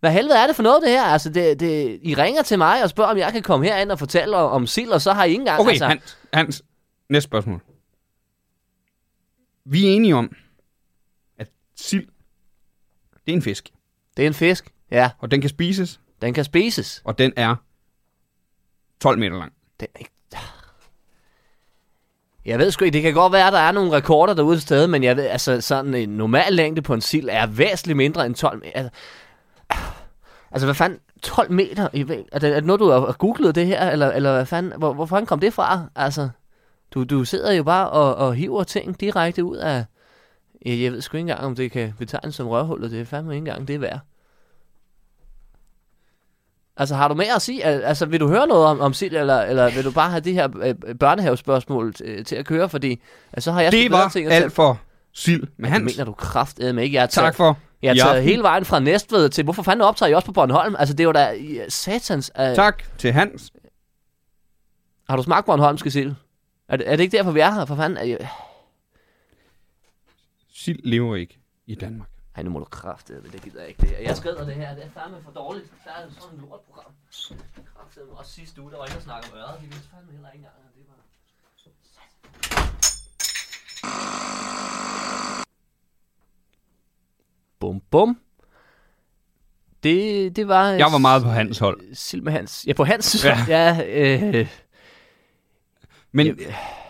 Speaker 3: Hvad helvede er det for noget, det her? Altså, det, det, I ringer til mig og spørger, om jeg kan komme herind og fortælle om, om sild, og så har I ikke engang...
Speaker 1: Okay,
Speaker 3: altså,
Speaker 1: Hans, Hans, næste spørgsmål. Vi er enige om, at sild, det er en fisk,
Speaker 3: Det er en fisk, ja.
Speaker 1: og den kan spises,
Speaker 3: Den kan spises.
Speaker 1: og den er 12 meter lang.
Speaker 3: Det er ikke... Jeg ved sgu ikke, det kan godt være, at der er nogle rekorder derude et sted, men jeg ved, altså sådan en normal længde på en sild er væsentligt mindre end 12 meter. Altså, altså hvad fanden? 12 meter? I ved, er, det, er det noget, du har har googlet det her, eller, eller hvad fanden? Hvor, hvor fanden kom det fra? Altså, du, du sidder jo bare og, og hiver ting direkte ud af... Jeg, jeg ved sgu ikke engang, om det kan betegnes som rørhullet. Det er fandme ikke engang det er værd. Altså, har du mere at sige? Al- Altså, vil du høre noget om, om sild, eller, eller vil du bare have de her øh, børnehavespørgsmål øh, til at køre? Fordi altså, så har jeg sgu
Speaker 1: Det
Speaker 3: bedre
Speaker 1: var
Speaker 3: ting at tage-
Speaker 1: alt for sild med
Speaker 3: det
Speaker 1: Hans.
Speaker 3: mener du kraftedeme ikke? Jeg har
Speaker 1: Tak
Speaker 3: taget-
Speaker 1: for
Speaker 3: Jeg har
Speaker 1: i
Speaker 3: taget
Speaker 1: aften.
Speaker 3: hele vejen fra Næstved til... Hvorfor fanden optager I også på Bornholm? Altså, det er jo da i- satans... Øh,
Speaker 1: Tak til Hans.
Speaker 3: Har du smagt Bornholmske sild? Er det, er det ikke derfor, vi er her? For fanden... Er, I-
Speaker 1: Sild lever ikke i Danmark.
Speaker 3: Ej, nu må du kraftedeme, det gider jeg ikke det her. Jeg skrider det her, det er fandme for dårligt. Der er sådan et lortprogram. Kraftedeme, også sidste uge, der var ikke at snakke om øret. De vidste fandme heller ikke engang, at det var... Bum, bum. Det, det var...
Speaker 1: Jeg var meget på Hans hold.
Speaker 3: Sild med Hans. Ja, på Hans. Ja, ja øh,
Speaker 1: Men,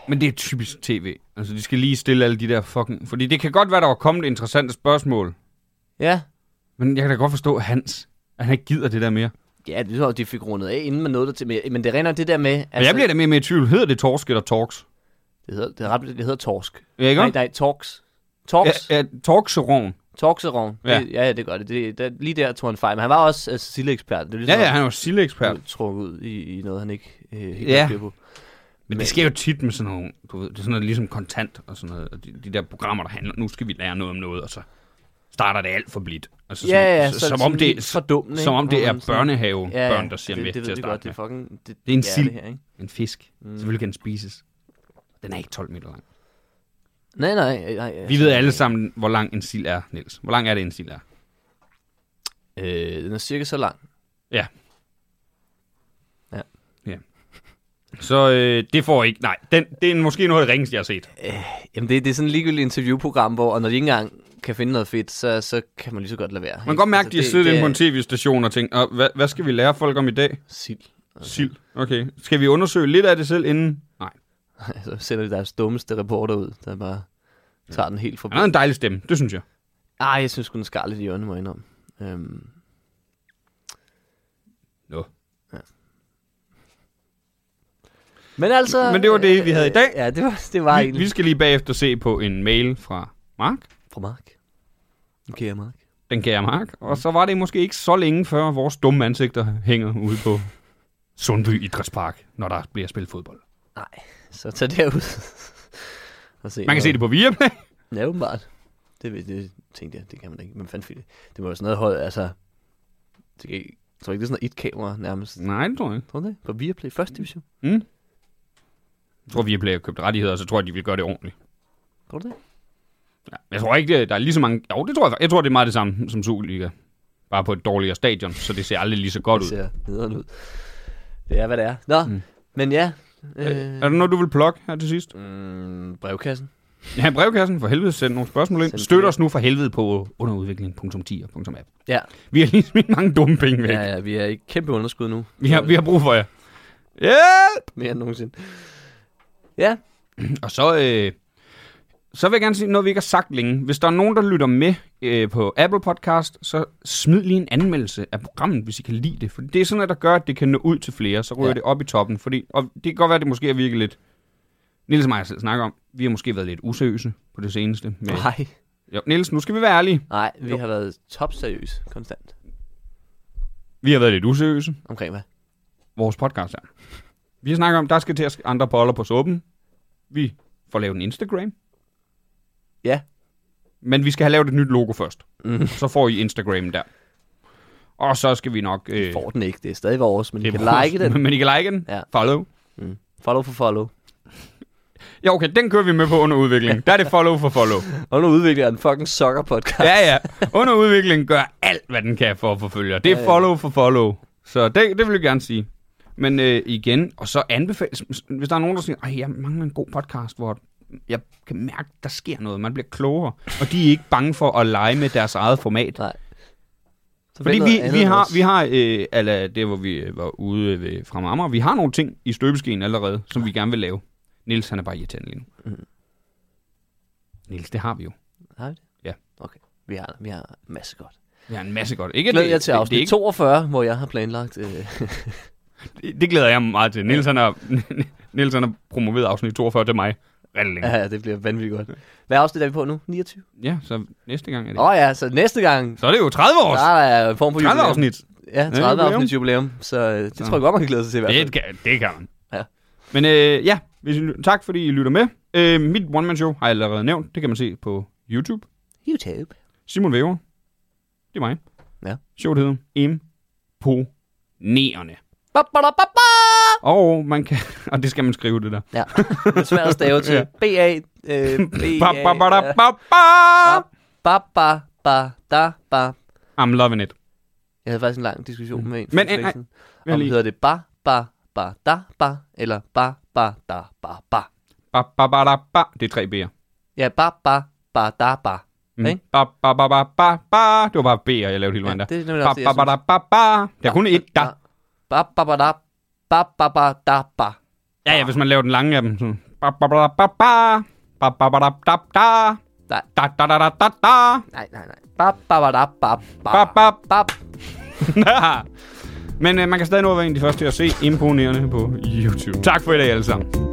Speaker 1: men det er typisk tv. Altså, de skal lige stille alle de der fucking... Fordi det kan godt være, der var kommet interessante spørgsmål.
Speaker 3: ja.
Speaker 1: Men jeg kan da godt forstå Hans, at han ikke gider det der mere.
Speaker 3: Ja, det var, de fik rundet af, inden man nåede det til. Men men det render det der med... Altså,
Speaker 1: Altså, jeg bliver da mere med i tvivl. Hedder det torsk eller torks?
Speaker 3: Det hedder, det, er ret, det hedder torsk.
Speaker 1: Ja, ikke?
Speaker 3: Nej, nej, torks. Torks. Ja,
Speaker 1: Ja, ja, torkseron.
Speaker 3: Torkseron.
Speaker 1: Ja.
Speaker 3: Ja. Det, ja, ja, det gør det. det der, lige der tog han fejl. Men han var også altså, sildeekspert. Det
Speaker 1: Ja,
Speaker 3: er ligesom,
Speaker 1: ja,
Speaker 3: at
Speaker 1: han er jo sildeekspert.
Speaker 3: han blev trukket ud i, i noget, han ikke øh, helt
Speaker 1: Ja.
Speaker 3: ja. på.
Speaker 1: Men det sker jo tit med sådan nogle, du ved, det er sådan noget ligesom kontant og sådan noget, og de, de der programmer, der handler, nu skal vi lære noget om noget, og så starter det alt for blidt. Altså,
Speaker 3: Ja, ja,
Speaker 1: som,
Speaker 3: så er
Speaker 1: som,
Speaker 3: det
Speaker 1: om
Speaker 3: sådan
Speaker 1: det,
Speaker 3: lidt fordummende,
Speaker 1: som
Speaker 3: ikke?
Speaker 1: om det
Speaker 3: Hvor
Speaker 1: er
Speaker 3: man sådan-
Speaker 1: børnehave ja, børn, der siger
Speaker 3: det,
Speaker 1: med
Speaker 3: det,
Speaker 1: til
Speaker 3: ved
Speaker 1: at
Speaker 3: vi
Speaker 1: starte
Speaker 3: godt. Det er,
Speaker 1: med.
Speaker 3: fucking, det,
Speaker 1: Det er en
Speaker 3: det
Speaker 1: sild.
Speaker 3: Det her, ikke?
Speaker 1: En fisk. Mm. Selvfølgelig kan den spises. Den er ikke 12 meter lang.
Speaker 3: Nej, nej, nej.
Speaker 1: Vi ved alle sammen, hvor lang en sild er, Niels. Hvor lang er det, en sild er?
Speaker 3: Øh, den er cirka så lang.
Speaker 1: Ja.
Speaker 3: Ja.
Speaker 1: Ja. Så øh, det får ikke... Nej, den, det er måske noget af det ringeste, jeg har set.
Speaker 3: Jamen, det, det er sådan et ligegyldigt interviewprogram, hvor og når de ikke engang kan finde noget fedt, så, så kan man lige så godt lade være. Altså,
Speaker 1: Man kan godt mærke, at de har siddet inde på en
Speaker 3: tid.
Speaker 1: tv-station og tænkt, "Åh, hvad, hvad skal vi lære folk om i dag?
Speaker 3: Sild.
Speaker 1: Sild. Okay. Skal vi undersøge lidt af det selv inden? Nej.
Speaker 3: Så Altså, sender de deres dummeste reporter ud, der bare tager den helt
Speaker 1: Han har
Speaker 3: forbi.
Speaker 1: en dejlig stemme, det synes jeg.
Speaker 3: Ej, jeg synes sgu, den skar lidt i øjnene, må jeg indrømme. Øhm,
Speaker 1: Nå.
Speaker 3: men altså...
Speaker 1: Men det var det, vi havde i dag.
Speaker 3: Øh, ja, det var, det var
Speaker 1: Vi, vi
Speaker 3: egentlig...
Speaker 1: skal lige bagefter se på en mail fra Mark.
Speaker 3: Fra Mark. Okay, ja, Mark.
Speaker 1: Den kære Mark. Og så var det måske ikke så længe før vores dumme ansigter hænger ude på Sundby Idrætspark, når der bliver spillet fodbold.
Speaker 3: Så tag derud. og se
Speaker 1: Man kan se det på Viaplay.
Speaker 3: på. Ja, åbenbart. Det, ved- det tænkte jeg, det kan man ikke. Men fanden det. Det må jo sådan noget højt, altså... Det kan ikke, jeg tror ikke, det er sådan noget et-kamera nærmest.
Speaker 1: Nej, det tror jeg ikke.
Speaker 3: Tror du det? På Viaplay, første division.
Speaker 1: Jeg tror, Viaplay har købt rettigheder, og så tror jeg, de vil gøre det ordentligt.
Speaker 3: Tror du det?
Speaker 1: Ja. Jeg tror ikke, det- der er lige så mange... Jo, det tror jeg. Jeg tror, det er meget det samme som Superliga. Bare på et dårligere stadion, så det ser aldrig lige så godt
Speaker 3: Det
Speaker 1: ud.
Speaker 3: ser nederen ud. Det er, hvad det er. Nå,
Speaker 1: Mm.
Speaker 3: mm. men ja.
Speaker 1: Øh. Er der noget, du vil plukke her til sidst?
Speaker 3: Mm, brevkassen.
Speaker 1: Ja, brevkassen for helvede, send nogle spørgsmål ind.
Speaker 3: Send
Speaker 1: Støt
Speaker 3: flere.
Speaker 1: os nu for helvede på underudvikling.10.app.
Speaker 3: Ja,
Speaker 1: Vi har lige smidt mange dumme penge væk.
Speaker 3: ja, ja, vi er i kæmpe underskud nu.
Speaker 1: Vi, har, vi har brug for jer. Hjælp!
Speaker 3: Mere end nogensinde. Ja,
Speaker 1: Og så, øh, så vil jeg gerne sige noget, vi ikke har sagt længe. Hvis der er nogen, der lytter med øh, på Apple Podcast, så smid lige en anmeldelse af programmet, hvis I kan lide det. For det er sådan noget, der gør, at det kan nå ud til flere. Så ryger ja.
Speaker 3: Ja.
Speaker 1: det op i toppen. Fordi, og det kan godt være, at det måske er virket lidt... Niels og mig har selv snakker om, vi har måske været lidt useriøse på det seneste. Med...
Speaker 3: nej,
Speaker 1: Jo, Niels, nu skal vi være ærlige.
Speaker 3: nej, vi
Speaker 1: Jo.
Speaker 3: har været topseriøse konstant.
Speaker 1: Vi har været lidt useriøse.
Speaker 3: Omkring hvad?
Speaker 1: Vores podcast er. Vi snakker om, der skal til at ske andre boller på suppen. Vi får lavet en Instagram.
Speaker 3: Ja,
Speaker 1: Men vi skal have lavet et nyt logo først.
Speaker 3: Mhm.
Speaker 1: Så får I Instagram der. Og så skal vi nok... Øh,
Speaker 3: får den ikke. Det er stadig vores, men I
Speaker 1: det er
Speaker 3: kan
Speaker 1: vores-
Speaker 3: like den.
Speaker 1: Men I kan like den.
Speaker 3: Ja.
Speaker 1: Follow.
Speaker 3: Follow for follow.
Speaker 1: Ja, okay, den kører vi med på under udvikling. Der er det follow for follow.
Speaker 3: Og nu udvikler jeg en fucking soccer podcast.
Speaker 1: Ja, ja. Under udvikling gør alt, hvad den kan for at forfølge. Det er follow for follow. Så det, det vil jeg gerne sige. Men øh, igen, og så anbefales, hvis der er nogen, der siger, at jeg mangler en god podcast, hvor jeg kan mærke, der sker noget, man bliver klogere, og de er ikke bange for at lege med deres eget format.
Speaker 3: Nej. Så
Speaker 1: Fordi
Speaker 3: find noget
Speaker 1: vi,
Speaker 3: andet
Speaker 1: vi
Speaker 3: end
Speaker 1: har,
Speaker 3: os.
Speaker 1: vi har øh, ala det, hvor vi øh, var ude ved, fra Marmar, vi har nogle ting i støbeskeen allerede, som vi gerne vil lave. Nils han er bare irriterende lige nu. Mm. Niels, det har vi jo.
Speaker 3: Har vi det?
Speaker 1: Ja.
Speaker 3: Okay. Vi har, vi har masse godt.
Speaker 1: Vi har en masse godt. Ikke,
Speaker 3: Glæder jeg til
Speaker 1: det, det, er
Speaker 3: afsnit
Speaker 1: ikke,
Speaker 3: 42, hvor jeg har planlagt... Øh,
Speaker 1: det, det glæder jeg mig meget til. Nils han har, Niels, han har promoveret afsnit 42 til mig. Rigtig længe.
Speaker 3: ja, det bliver vanvittigt godt. Hvad afsnit er vi på nu? 29?
Speaker 1: Ja, så næste gang er det.
Speaker 3: Åh oh, ja, så næste gang,
Speaker 1: Så er det jo 30 år.
Speaker 3: der er en form for
Speaker 1: 30
Speaker 3: jubilæum.
Speaker 1: afsnit.
Speaker 3: Ja, 30
Speaker 1: jubilæum.
Speaker 3: afsnit jubilæum. Så øh, det
Speaker 1: Så.
Speaker 3: tror jeg godt, man kan glæde sig til i hvert fald.
Speaker 1: Det kan, det kan man.
Speaker 3: Ja.
Speaker 1: Men øh, ja, hvis I, ly- tak fordi I lytter med. Øh, mit one-man-show har jeg allerede nævnt. Det kan man se på YouTube.
Speaker 3: YouTube.
Speaker 1: Simon Væver. Det er mig.
Speaker 3: Ja.
Speaker 1: Showet hedder Imponerende.
Speaker 3: Ba, ba, da, ba, ba.
Speaker 1: Og man kan... Og det skal man skrive, det der.
Speaker 3: Ja, det er svært at stave til. B-A... øh, B-A-
Speaker 1: Ba, ba, ba, da, ba, ba.
Speaker 3: Ba, ba, ba, da, ba.
Speaker 1: I'm loving it.
Speaker 3: Jeg havde faktisk en lang diskussion med en.
Speaker 1: Men,
Speaker 3: for
Speaker 1: øh, nej.
Speaker 3: siden.
Speaker 1: Jeg
Speaker 3: Om
Speaker 1: lige-
Speaker 3: hedder det ba, ba, ba, da, ba, eller ba, ba, da, ba, ba.
Speaker 1: Ba, ba, ba, da, ba. Det er tre B'er.
Speaker 3: Ja, ba, ba, ba, da, ba.
Speaker 1: Mm.
Speaker 3: Ikke?
Speaker 1: Ba, ba, ba, ba, ba, ba. Det var bare B'er, jeg lavede hele vejen
Speaker 3: Ja,
Speaker 1: der.
Speaker 3: det er nemlig
Speaker 1: Ba,
Speaker 3: også det,
Speaker 1: ba,
Speaker 3: jeg
Speaker 1: ba, da, ba, ba. Der er kun et da.
Speaker 3: Ba, ba, ba, da, ba, ba, ba, da, ba.
Speaker 1: Ja, ja, hvis man laver den lange af dem. Sådan. Ba, ba, ba, da, ba, ba. Ba, ba, ba, da, da, da.
Speaker 3: Nej.
Speaker 1: Da, da, da, da, da, da.
Speaker 3: Nej, nej, nej. Ba, ba, ba, da, ba,
Speaker 1: Ba,
Speaker 3: ba.
Speaker 1: ba,
Speaker 3: ba.
Speaker 1: Men øh, man kan stadig nå at være en af de første til at se imponerende på YouTube. Tak for i dag alle sammen.